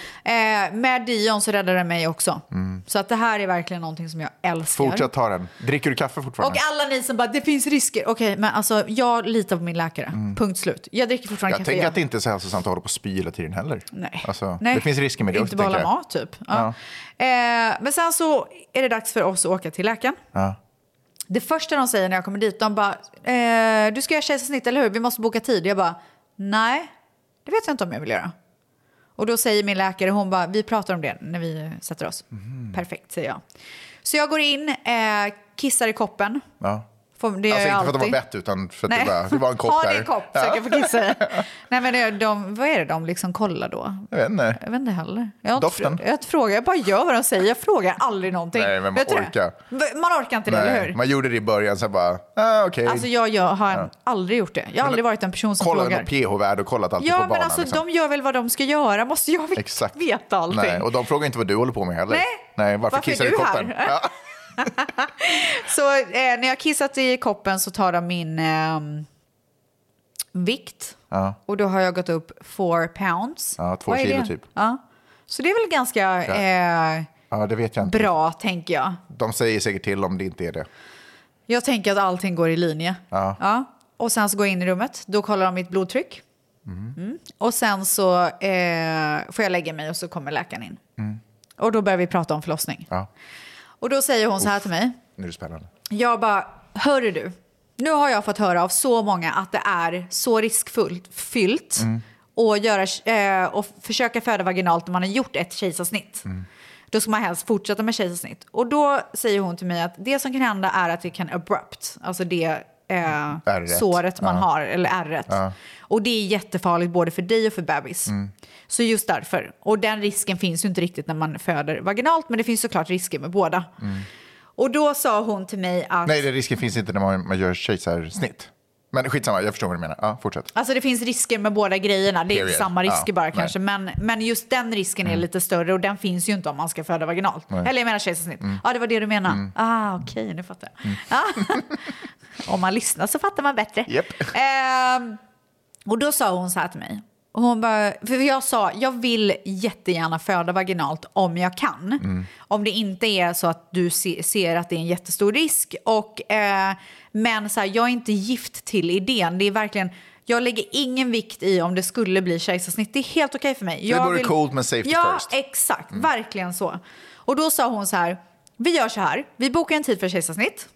Speaker 1: Eh, med Dion så räddade den mig också. Så att det här är verkligen någonting som jag älskar.
Speaker 2: Fortsätt ta den. Dricker du kaffe
Speaker 1: Och
Speaker 2: fortfarande?
Speaker 1: alla ni som bara, det finns risker. Okej, men alltså jag litar på min läkare. Punkt slut. Jag dricker fortfarande
Speaker 2: Mm. jag
Speaker 1: kaffe.
Speaker 2: tänker
Speaker 1: igen.
Speaker 2: att det inte är så hälsosamt att hålla på och spy hela tiden heller.
Speaker 1: Nej.
Speaker 2: Alltså,
Speaker 1: Nej.
Speaker 2: Det finns risker med det
Speaker 1: Inte
Speaker 2: också,
Speaker 1: bara
Speaker 2: tänker jag.
Speaker 1: mat typ. Ja. Eh, men sen så är det dags för oss att åka till läkaren.
Speaker 2: Ja.
Speaker 1: Det första de säger när jag kommer dit, de bara, eh, du ska göra kejsarsnitt eller hur? Vi måste boka tid. Jag bara, nej, det vet jag inte om jag vill göra. Och då säger min läkare, hon bara, vi pratar om det när vi sätter oss.
Speaker 2: Mhm.
Speaker 1: Perfekt, säger jag. Så jag går in, eh, kissar i koppen.
Speaker 2: Ja.
Speaker 1: Får- Det gör
Speaker 2: Alltså
Speaker 1: jag
Speaker 2: inte för att de
Speaker 1: alltid.
Speaker 2: var bett utan för att
Speaker 1: Nej.
Speaker 2: det, bara, det var en kopp
Speaker 1: ha
Speaker 2: där.
Speaker 1: det i en kopp så jag kan få kissa i. Nej men det- de, vad är det de liksom kollar då?
Speaker 2: Jag vet inte.
Speaker 1: Jag vet inte heller. Jag, har inte
Speaker 2: Doften.
Speaker 1: frå- jag, frågar, jag bara gör vad de säger, jag frågar aldrig någonting.
Speaker 2: Nej, men man
Speaker 1: Vet du det?
Speaker 2: orkar.
Speaker 1: V- Man orkar inte det, eller
Speaker 2: Nej,
Speaker 1: hur?
Speaker 2: man gjorde det i början, sen bara, ah, okej.
Speaker 1: Alltså jag, jag har aldrig gjort det. Jag har aldrig varit en person som
Speaker 2: Kollade
Speaker 1: frågar.
Speaker 2: på pH-värde och kollat alltid
Speaker 1: Ja
Speaker 2: på
Speaker 1: men
Speaker 2: barnen.
Speaker 1: alltså
Speaker 2: liksom.
Speaker 1: de gör väl vad de ska göra, måste jag väl
Speaker 2: Exakt.
Speaker 1: veta allting?
Speaker 2: Nej, och de frågar inte vad du håller på med heller.
Speaker 1: Nej.
Speaker 2: Nej varför,
Speaker 1: Varför är
Speaker 2: kissar du i
Speaker 1: du
Speaker 2: koppen?
Speaker 1: här?
Speaker 2: Ja.
Speaker 1: Så eh, när jag kissat i koppen så tar de min eh, vikt.
Speaker 2: Ja.
Speaker 1: Och då har jag gått upp four pounds.
Speaker 2: Ja, två
Speaker 1: Vad är
Speaker 2: kilo
Speaker 1: det?
Speaker 2: typ.
Speaker 1: Ja. Så det är väl ganska
Speaker 2: Ja.
Speaker 1: eh,
Speaker 2: ja, det vet jag inte.
Speaker 1: bra, tänker jag.
Speaker 2: De säger säkert till om det inte är det.
Speaker 1: Jag tänker att allting går i linje.
Speaker 2: Ja.
Speaker 1: Och sen så går jag in i rummet, då kollar de mitt blodtryck. Mm. Och sen så eh, får jag lägga mig och så kommer läkaren in. Och då börjar vi prata om förlossning.
Speaker 2: Mm. Ja.
Speaker 1: Och då säger hon så här till mig.
Speaker 2: Nu är det spännande.
Speaker 1: Jag bara, hörru du, nu har jag fått höra av så många att det är så riskfyllt fyllt
Speaker 2: Mm.
Speaker 1: och, göra, eh, och försöka föda vaginalt när man har gjort ett kejsarsnitt.
Speaker 2: Mm.
Speaker 1: Då ska man helst fortsätta med kejsarsnitt. Och då säger hon till mig att det som kan hända är att det kan abrupt, alltså det eh,
Speaker 2: Ärret.
Speaker 1: såret man
Speaker 2: Mm. Ja.
Speaker 1: har, eller ärret.
Speaker 2: Ja. Mm.
Speaker 1: Och det är jättefarligt både för dig och för bebis. Så just därför. Och den risken finns ju inte riktigt när man föder vaginalt, men det finns såklart risker med båda. Och då sa hon till mig att...
Speaker 2: Mm. Nej, den risken finns inte när man, man gör kejsarsnitt. Men skitsamma, jag förstår vad du menar. Ja, fortsätt.
Speaker 1: Alltså det finns risker med båda grejerna, det är inte
Speaker 2: Period.
Speaker 1: samma risker
Speaker 2: Ja,
Speaker 1: bara
Speaker 2: nej. Mm.
Speaker 1: kanske. Men, men just den risken är lite större och den finns ju inte om man ska föda vaginalt. Eller jag menar kejsarsnitt.
Speaker 2: Mm.
Speaker 1: Ja, det var det du menade. Ah, okej, nu fattar jag. Ah, om man lyssnar så fattar man bättre.
Speaker 2: Mm. Japp.
Speaker 1: Ehm, och då sa hon så här till mig. Och hon bara, för jag sa, jag vill jättegärna föda vaginalt om jag kan.
Speaker 2: Mm.
Speaker 1: Om det inte är så att du se, ser att det är en jättestor risk. Och, eh, men så här, jag är inte gift till idén. Det är verkligen, jag lägger ingen vikt i om det skulle bli kejsarsnitt. Det är helt okej för mig.
Speaker 2: det
Speaker 1: Jag
Speaker 2: vore coolt, men safety
Speaker 1: ja,
Speaker 2: first. Mm.
Speaker 1: exakt. Verkligen så. Och då sa hon så här, vi gör så här, vi bokar en tid för kejsarsnitt.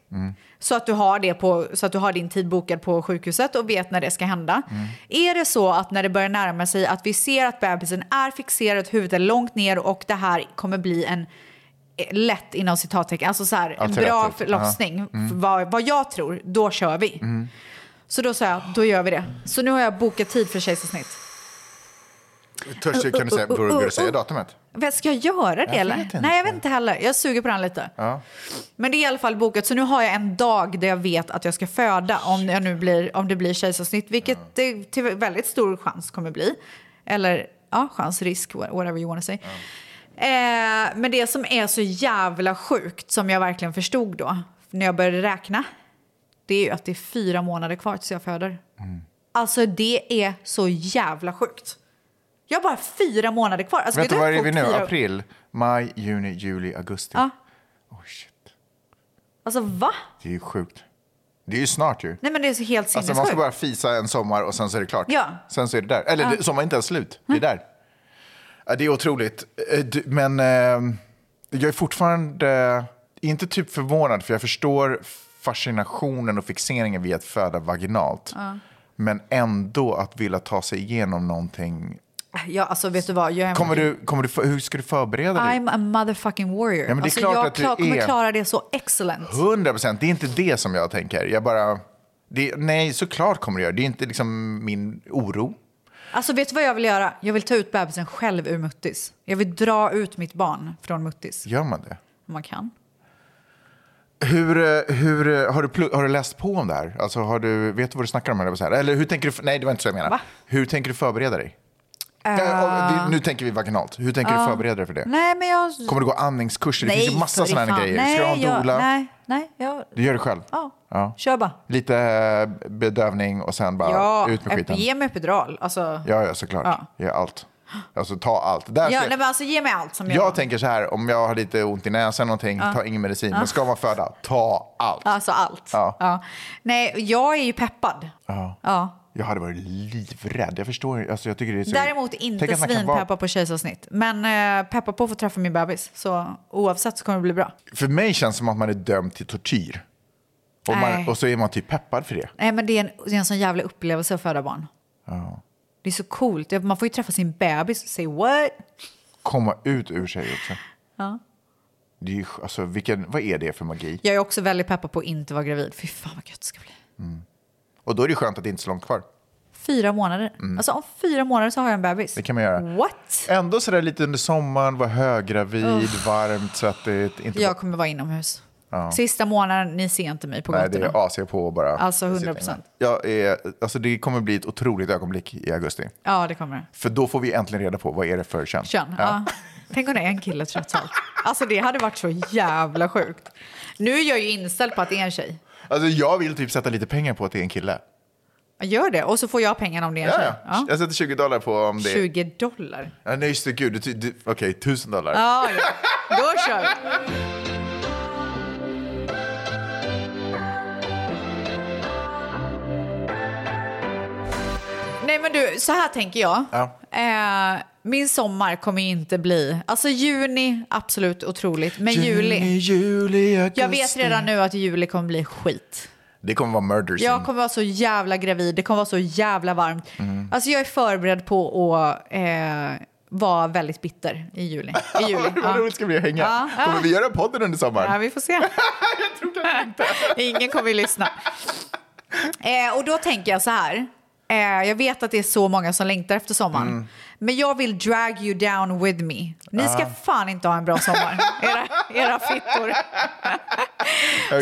Speaker 1: Så att, du har det på, så att du har din tid bokad på sjukhuset och vet när det ska hända.
Speaker 2: Mm.
Speaker 1: Är det så att när det börjar närma sig att vi ser att bebisen är fixerad, huvudet är långt ner och det här kommer bli en eh, lätt inom citattecken, alltså så här,
Speaker 2: Ja, Mm.
Speaker 1: en bra
Speaker 2: tillräckligt.
Speaker 1: förlossning, vad, vad jag tror, då kör vi.
Speaker 2: Mm.
Speaker 1: Så då sa jag, då gör vi det. Så nu har jag bokat tid för kejsarsnitt.
Speaker 2: Törs, kan du säga, går, går du säga datumet?
Speaker 1: Vet, Ska jag göra det
Speaker 2: vet
Speaker 1: eller?
Speaker 2: inte.
Speaker 1: Nej, jag vet inte heller. Jag suger på den lite.
Speaker 2: Ja.
Speaker 1: Men det är i alla fall bokat. Så nu har jag en dag där jag vet att jag ska föda om, jag nu blir, om det blir kejsarsnitt. Vilket det till väldigt stor chans kommer bli. Eller ja, chans, risk, whatever you wanna say. Eh, men det som är så jävla sjukt, som jag verkligen förstod då, när jag började räkna, det är ju att det är fyra månader kvar tills jag föder.
Speaker 2: Mm.
Speaker 1: Alltså det är så jävla sjukt. Jag har bara fyra månader kvar. Alltså,
Speaker 2: Vänta,
Speaker 1: vet du
Speaker 2: vad
Speaker 1: hur
Speaker 2: är
Speaker 1: fort
Speaker 2: vi nu?
Speaker 1: fyra-
Speaker 2: April, maj, juni, juli, augusti.
Speaker 1: Ja.
Speaker 2: Oh, shit.
Speaker 1: Alltså va?
Speaker 2: Det är ju sjukt. Det är ju snart ju.
Speaker 1: Nej men det är så helt
Speaker 2: Alltså,
Speaker 1: sinnessjukt.
Speaker 2: man ska bara fisa en sommar och sen så är det klart.
Speaker 1: Ja. Mm.
Speaker 2: Sen så är det där. Eller det- sommaren är inte ens slut. Det är där. Ja, det är otroligt. Eh, du- Men eh, jag är fortfarande eh, inte typ förvånad för jag förstår fascinationen och fixeringen vid att föda vaginalt. Men ändå att vilja ta sig igenom någonting.
Speaker 1: Ja alltså vet du vad? Jag är
Speaker 2: Kommer du, kommer du, för- hur ska du förbereda dig?
Speaker 1: I'm a motherfucking warrior.
Speaker 2: Ja, men det är
Speaker 1: alltså,
Speaker 2: klart
Speaker 1: jag
Speaker 2: att du
Speaker 1: klar, kommer
Speaker 2: är.
Speaker 1: klara det så excellent.
Speaker 2: 100 procent. Det är inte det som jag tänker. Jag bara... Det, nej, såklart kommer det göra. Det är inte liksom min oro.
Speaker 1: Alltså vet du vad jag vill göra? Jag vill ta ut bebisen själv ur muttis. Jag vill dra ut mitt barn från muttis.
Speaker 2: Gör man det?
Speaker 1: Om man kan.
Speaker 2: Hur, eh, hur, eh, har, du plu- har du läst på om det här? Alltså, har du, vet du vad du snackar om? Eller, så här? eller hur tänker du? f- Nej, det var inte så jag menade.
Speaker 1: Va? Eh.
Speaker 2: Hur tänker du förbereda dig? Ja, och det- Nu tänker vi vaginalt. Hur tänker du
Speaker 1: Ja.
Speaker 2: förbereda dig för det?
Speaker 1: Nej, men jag...
Speaker 2: Kommer du gå andningskurser? det finns ju massa
Speaker 1: för i
Speaker 2: sådana här
Speaker 1: fan.
Speaker 2: grejer.
Speaker 1: Nej,
Speaker 2: Ska du ha en
Speaker 1: jag-
Speaker 2: doula?
Speaker 1: Nej, nej, jag...
Speaker 2: Du gör det själv?
Speaker 1: Ja.
Speaker 2: Ja.
Speaker 1: Kör bara.
Speaker 2: Lite eh, bedövning och sen bara
Speaker 1: Ja,
Speaker 2: ut med skiten.
Speaker 1: ge mig epidural. Alltså,
Speaker 2: Ja, ja, såklart.
Speaker 1: Ja.
Speaker 2: Ge allt. Alltså ta allt. Där
Speaker 1: ja,
Speaker 2: ser-
Speaker 1: nej, men alltså, ge mig allt som jag...
Speaker 2: Jag tänker så här, om jag har lite ont i näsan någonting,
Speaker 1: Ja.
Speaker 2: ta ingen medicin.
Speaker 1: Ja.
Speaker 2: Men ska man föda, ta allt.
Speaker 1: Alltså allt.
Speaker 2: Ja.
Speaker 1: Ja. Nej, jag är ju peppad.
Speaker 2: Ja.
Speaker 1: Ja.
Speaker 2: Jag hade varit livrädd. Jag förstår alltså, jag tycker det är så...
Speaker 1: Däremot
Speaker 2: Tänk
Speaker 1: inte
Speaker 2: att man kan
Speaker 1: svinpeppa på kejsarsnitt. Men eh, peppa på för att träffa min bebis. Så oavsett så kommer det bli bra.
Speaker 2: För mig känns det som att man är dömd till tortyr. Och, man,
Speaker 1: Nej.
Speaker 2: och så är man typ peppad för det.
Speaker 1: Nej, men det är en, det är en sån jävla upplevelse att föda barn.
Speaker 2: Ja.
Speaker 1: Det är så coolt. Man får ju träffa sin bebis och säga what?
Speaker 2: Komma ut ur sig också.
Speaker 1: Ja.
Speaker 2: Det är, ju- alltså, vilken, vad är det för magi?
Speaker 1: Jag är också väldigt peppad på att inte vara gravid. Fy fan vad gött det ska bli.
Speaker 2: Och då är det skönt att det inte är så långt kvar.
Speaker 1: Fyra månader.
Speaker 2: Mm.
Speaker 1: Alltså om fyra månader så har jag en bebis.
Speaker 2: Det kan man göra.
Speaker 1: What?
Speaker 2: Ändå sådär lite under sommaren, vara höggravid,
Speaker 1: Uff.
Speaker 2: varmt, svettigt. Inte
Speaker 1: Jag kommer vara inomhus.
Speaker 2: Ja.
Speaker 1: Sista månaden, ni ser inte mig på
Speaker 2: Nej, det
Speaker 1: gatorna.
Speaker 2: är AC på bara.
Speaker 1: Alltså 100%.
Speaker 2: Jag är, alltså det kommer bli ett otroligt ögonblick i augusti.
Speaker 1: Ja, det kommer det.
Speaker 2: För då får vi äntligen reda på vad är det för kön.
Speaker 1: Kön. Ja. Tänk om det är en kille trots allt. Alltså det hade varit så jävla sjukt. Nu är jag ju inställd på att det är en tjej.
Speaker 2: Alltså jag vill typ sätta lite pengar på att det är en kille.
Speaker 1: Gör det och så får jag pengarna om det är en
Speaker 2: Ja,
Speaker 1: tjej.
Speaker 2: ja. Jag sätter 20 dollar på om det är...
Speaker 1: 20 dollar.
Speaker 2: Ja, nej, just det. Gud, det ty- det- okej, 1000 dollar.
Speaker 1: Ja, ja. Då kör vi. Nej men du, så här tänker jag.
Speaker 2: Ja.
Speaker 1: Eh, min sommar kommer ju inte bli... Alltså juni, absolut otroligt. Men juli.
Speaker 2: Juni, juli, augusti.
Speaker 1: Jag vet redan nu att juli kommer bli skit.
Speaker 2: Det kommer vara murder scene.
Speaker 1: Jag kommer vara så jävla gravid, det kommer vara så jävla varmt.
Speaker 2: Mm.
Speaker 1: Alltså jag är förberedd på att eh, vara väldigt bitter i juli. I juli.
Speaker 2: Vad roligt det ska bli att hänga. Kommer vi göra podden under sommaren?
Speaker 1: Ja, vi får se. jag tror inte. Ingen kommer ju lyssna. Eh, och då tänker jag så här. Eh, jag vet att det är så många som längtar efter sommaren.
Speaker 7: Mm.
Speaker 1: Men jag vill drag you down with me. Ni ska
Speaker 7: Ah.
Speaker 1: fan inte ha en bra sommar, era, era fittor.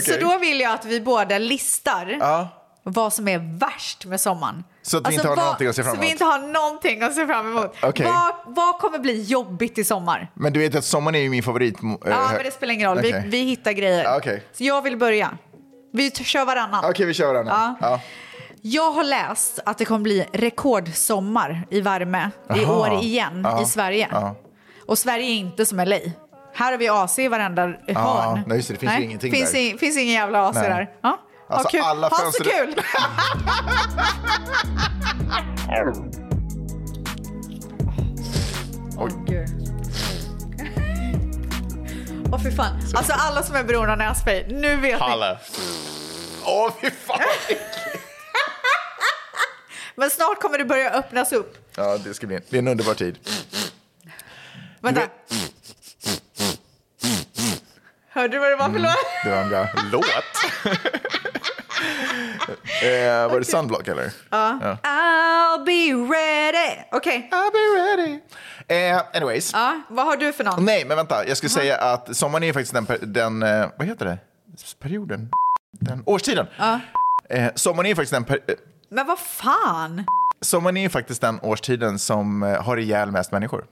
Speaker 1: Så då vill jag att vi båda listar
Speaker 2: Ja.
Speaker 1: vad som är värst med sommaren. Alltså,
Speaker 2: Så att vi inte har
Speaker 1: vad-
Speaker 2: någonting att se fram
Speaker 1: Så vi
Speaker 2: emot.
Speaker 1: inte har någonting att se fram emot.
Speaker 2: Okej.
Speaker 1: Vad, vad kommer bli jobbigt i sommar?
Speaker 2: Men du vet att sommaren är ju min favorit. eh,
Speaker 1: Ja,
Speaker 2: hö-
Speaker 1: men det spelar ingen roll.
Speaker 2: Okej.
Speaker 1: Vi, vi hittar grejer.
Speaker 2: Okej.
Speaker 1: Så jag vill börja. Vi t- kör varannan.
Speaker 2: Okej, vi kör den.
Speaker 1: Ja.
Speaker 2: Ja. Ja.
Speaker 1: Jag har läst att det kommer bli rekordsommar i värme i
Speaker 2: Aha.
Speaker 1: år igen
Speaker 2: Ja.
Speaker 1: i Sverige.
Speaker 2: Ja.
Speaker 1: Och Sverige är inte som LA. Här har vi AC i varenda hörn.
Speaker 2: nej, just det. Det finns ju ingenting
Speaker 1: finns
Speaker 2: där.
Speaker 1: i- finns ingen jävla AC
Speaker 2: Nej.
Speaker 1: där. Ja.
Speaker 2: Alltså,
Speaker 1: ha kul.
Speaker 2: alla
Speaker 1: ha så
Speaker 2: fönster-
Speaker 1: kul! Åh gud. Åh fy fan. Alltså alla som är beroende av nässpray, nu vet ni.
Speaker 2: Palle. Åh, fy fan.
Speaker 1: Men snart kommer det börja öppnas upp.
Speaker 2: Ja, det ska bli en, det är en underbar tid.
Speaker 1: Vänta, hörde du vad det var för låt?
Speaker 2: Det var en bra låt. eh, var det Sunblock eller?
Speaker 1: Ja.
Speaker 2: Ja.
Speaker 1: I'll be ready. Okej.
Speaker 2: I'll be ready. Eh, anyways.
Speaker 1: Ja, Ah. vad har du för någon?
Speaker 2: Nej, men vänta. Jag skulle säga att sommaren är ju faktiskt den, per- den eh, vad heter det? Perioden? Den årstiden.
Speaker 1: Ja.
Speaker 2: Eh, sommaren är ju faktiskt den per- eh,
Speaker 1: Men vad fan?
Speaker 2: Sommaren är ju faktiskt den årstiden som eh, har ihjäl mest människor.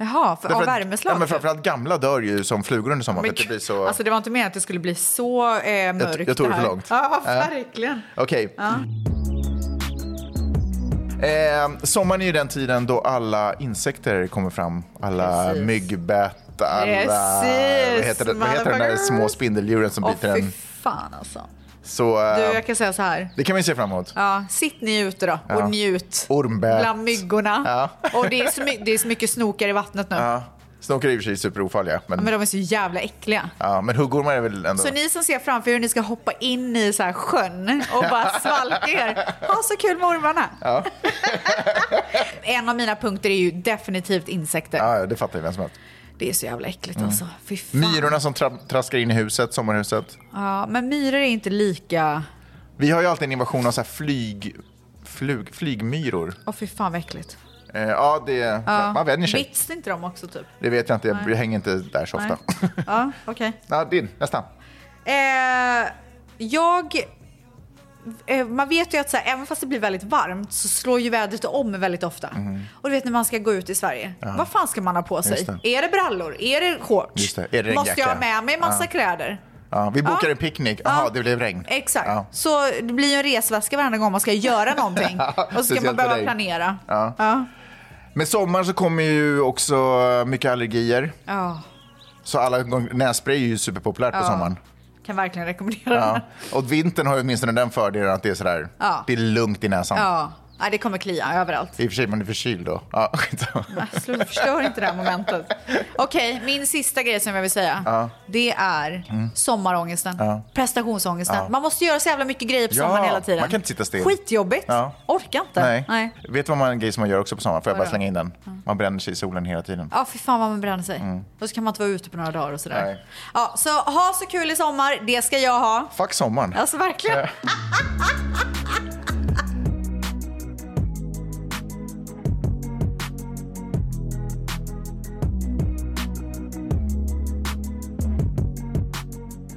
Speaker 1: Jaha, för, av
Speaker 2: Därför att-
Speaker 1: värmeslag? typ.
Speaker 2: Ja, men framförallt gamla dör ju som flugor under sommaren.
Speaker 1: Men
Speaker 2: för att det blir så...
Speaker 1: Alltså det var inte meningen att det skulle bli så eh,
Speaker 2: Jag-
Speaker 1: mörkt
Speaker 2: jag tog det för
Speaker 1: här.
Speaker 2: långt.
Speaker 1: Ja,
Speaker 2: Ja.
Speaker 1: verkligen.
Speaker 2: Okej.
Speaker 1: Ja.
Speaker 2: Eh, sommaren är ju den tiden då alla insekter kommer fram. Alla
Speaker 1: Precis.
Speaker 2: myggbett, alla...
Speaker 1: Precis,
Speaker 2: vad heter, det, vad heter den där
Speaker 1: motherfuckers.
Speaker 2: små spindeldjuren som
Speaker 1: Åh,
Speaker 2: biter
Speaker 1: fy
Speaker 2: en?
Speaker 1: fan alltså.
Speaker 2: Så, eh,
Speaker 1: Du, jag kan säga så här.
Speaker 2: Det kan man ju se fram emot.
Speaker 1: Ja, sitt ni ute då och
Speaker 2: Ja.
Speaker 1: njut.
Speaker 2: Ormbett.
Speaker 1: Bland myggorna.
Speaker 2: Ja.
Speaker 1: Och det är, så my- det är så mycket snokar i vattnet nu.
Speaker 2: Ja. Snokar är i och för sig superofarliga. Men,
Speaker 1: Ja, Men de är så jävla äckliga.
Speaker 2: ja, men huggormar är väl ändå...
Speaker 1: Så ni som ser framför er hur ni ska hoppa in i så här sjön och bara svalka er, ha så kul med ormarna.
Speaker 2: Ja.
Speaker 1: En av mina punkter är ju definitivt insekter.
Speaker 2: Ja, det fattar ju vem som helst.
Speaker 1: Det är så jävla äckligt
Speaker 2: Mm.
Speaker 1: alltså. Fy fan.
Speaker 2: Myrorna som tra- traskar in i huset, sommarhuset.
Speaker 1: Ja, men myror är inte lika...
Speaker 2: Vi har ju alltid en invasion av så här flyg, flug, flygmyror.
Speaker 1: Åh fy fan vad äckligt.
Speaker 2: Eh, ja, det,
Speaker 1: Ja.
Speaker 2: man vänjer sig.
Speaker 1: Bits inte de också typ?
Speaker 2: Det vet jag inte, jag
Speaker 1: Nej.
Speaker 2: hänger inte där så ofta.
Speaker 1: Nej. Ja, okej.
Speaker 2: Ja, din, nästan.
Speaker 1: Eh, jag eh, man vet ju att så här, även fast det blir väldigt varmt så slår ju vädret om väldigt ofta. Och du vet när man ska gå ut i Sverige, vad fan ska man ha på sig?
Speaker 2: Mhm. Just det.
Speaker 1: Är det brallor? Är det shorts?
Speaker 2: Just det. Är det
Speaker 1: Måste jag ha
Speaker 2: regnjacka?
Speaker 1: med mig massa
Speaker 2: Ja.
Speaker 1: kläder?
Speaker 2: Ja, vi bokar
Speaker 1: Ja.
Speaker 2: en picknick. Jaha,
Speaker 1: Ja.
Speaker 2: det blev regn.
Speaker 1: Exakt.
Speaker 2: Ja.
Speaker 1: Så det blir ju en resväska varenda gång man ska göra någonting. Och så ska
Speaker 2: Speciellt för
Speaker 1: man behöva
Speaker 2: dig.
Speaker 1: planera.
Speaker 2: Ja.
Speaker 1: Ja.
Speaker 2: Med sommaren så kommer ju också mycket allergier.
Speaker 1: Ja.
Speaker 2: Så alla gång- nässpray är ju superpopulärt på
Speaker 1: Ja.
Speaker 2: sommaren.
Speaker 1: Kan verkligen rekommendera
Speaker 2: Ja.
Speaker 1: den.
Speaker 2: Och vintern har ju åtminstone den fördelen att det är sådär,
Speaker 1: Ja.
Speaker 2: det är lugnt i näsan.
Speaker 1: Ja. Nej, det kommer klia överallt.
Speaker 2: I och för sig, man är förkyld då. Ja, skitsamma.
Speaker 1: Nej, sluta, förstör inte det här momentet. Okej, min sista grej som jag vill säga.
Speaker 2: Ja.
Speaker 1: Det är
Speaker 2: Mm.
Speaker 1: sommarångesten.
Speaker 2: Ja.
Speaker 1: Prestationsångesten.
Speaker 2: Ja.
Speaker 1: Man måste göra så jävla mycket grejer på
Speaker 2: Ja,
Speaker 1: sommaren hela tiden.
Speaker 2: man kan inte sitta still.
Speaker 1: Skitjobbigt.
Speaker 2: Ja.
Speaker 1: Orkar inte.
Speaker 2: Nej. Vet du vad man, en grej som man gör också på sommaren? Får jag bara
Speaker 1: Vadå?
Speaker 2: slänga in den? Man bränner sig i solen hela tiden.
Speaker 1: Ja, fy fan vad man bränner sig.
Speaker 2: Mm.
Speaker 1: Och så kan man inte vara ute på några dagar och sådär.
Speaker 2: Nej.
Speaker 1: Ja, så ha så kul i sommar. Det ska jag ha.
Speaker 2: Fuck sommaren.
Speaker 1: Alltså verkligen.
Speaker 2: Ja.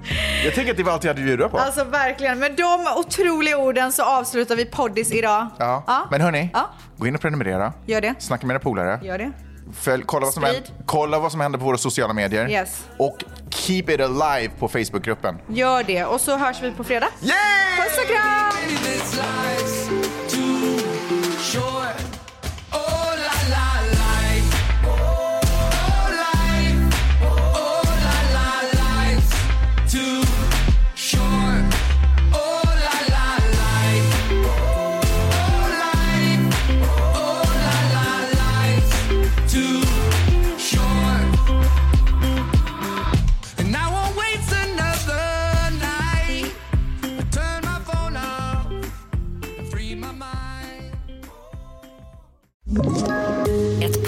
Speaker 2: Eh. Jag tänker att det var allt jag hade att bjuda på.
Speaker 1: Alltså verkligen. Med de otroliga orden så avslutar vi poddis idag.
Speaker 2: ja.
Speaker 1: Ja.
Speaker 2: Men hörni,
Speaker 1: Ja.
Speaker 2: gå in och prenumerera.
Speaker 1: Gör det.
Speaker 2: Snacka med era polare.
Speaker 1: Gör det.
Speaker 2: Följ, kolla, vad som
Speaker 1: Sprid.
Speaker 2: händer, kolla vad som händer på våra sociala medier.
Speaker 1: Yes.
Speaker 2: Och keep it alive på Facebookgruppen.
Speaker 1: Gör det. Och så hörs vi på fredag.
Speaker 2: Yay!
Speaker 1: Puss och kram!
Speaker 7: This life's too short. Oh la la life. Oh life. Oh la la life's too short. Oh la la life. Oh life. Oh la la life's too short. And I won't waste another night. I turn my phone off and free my mind.
Speaker 5: Ett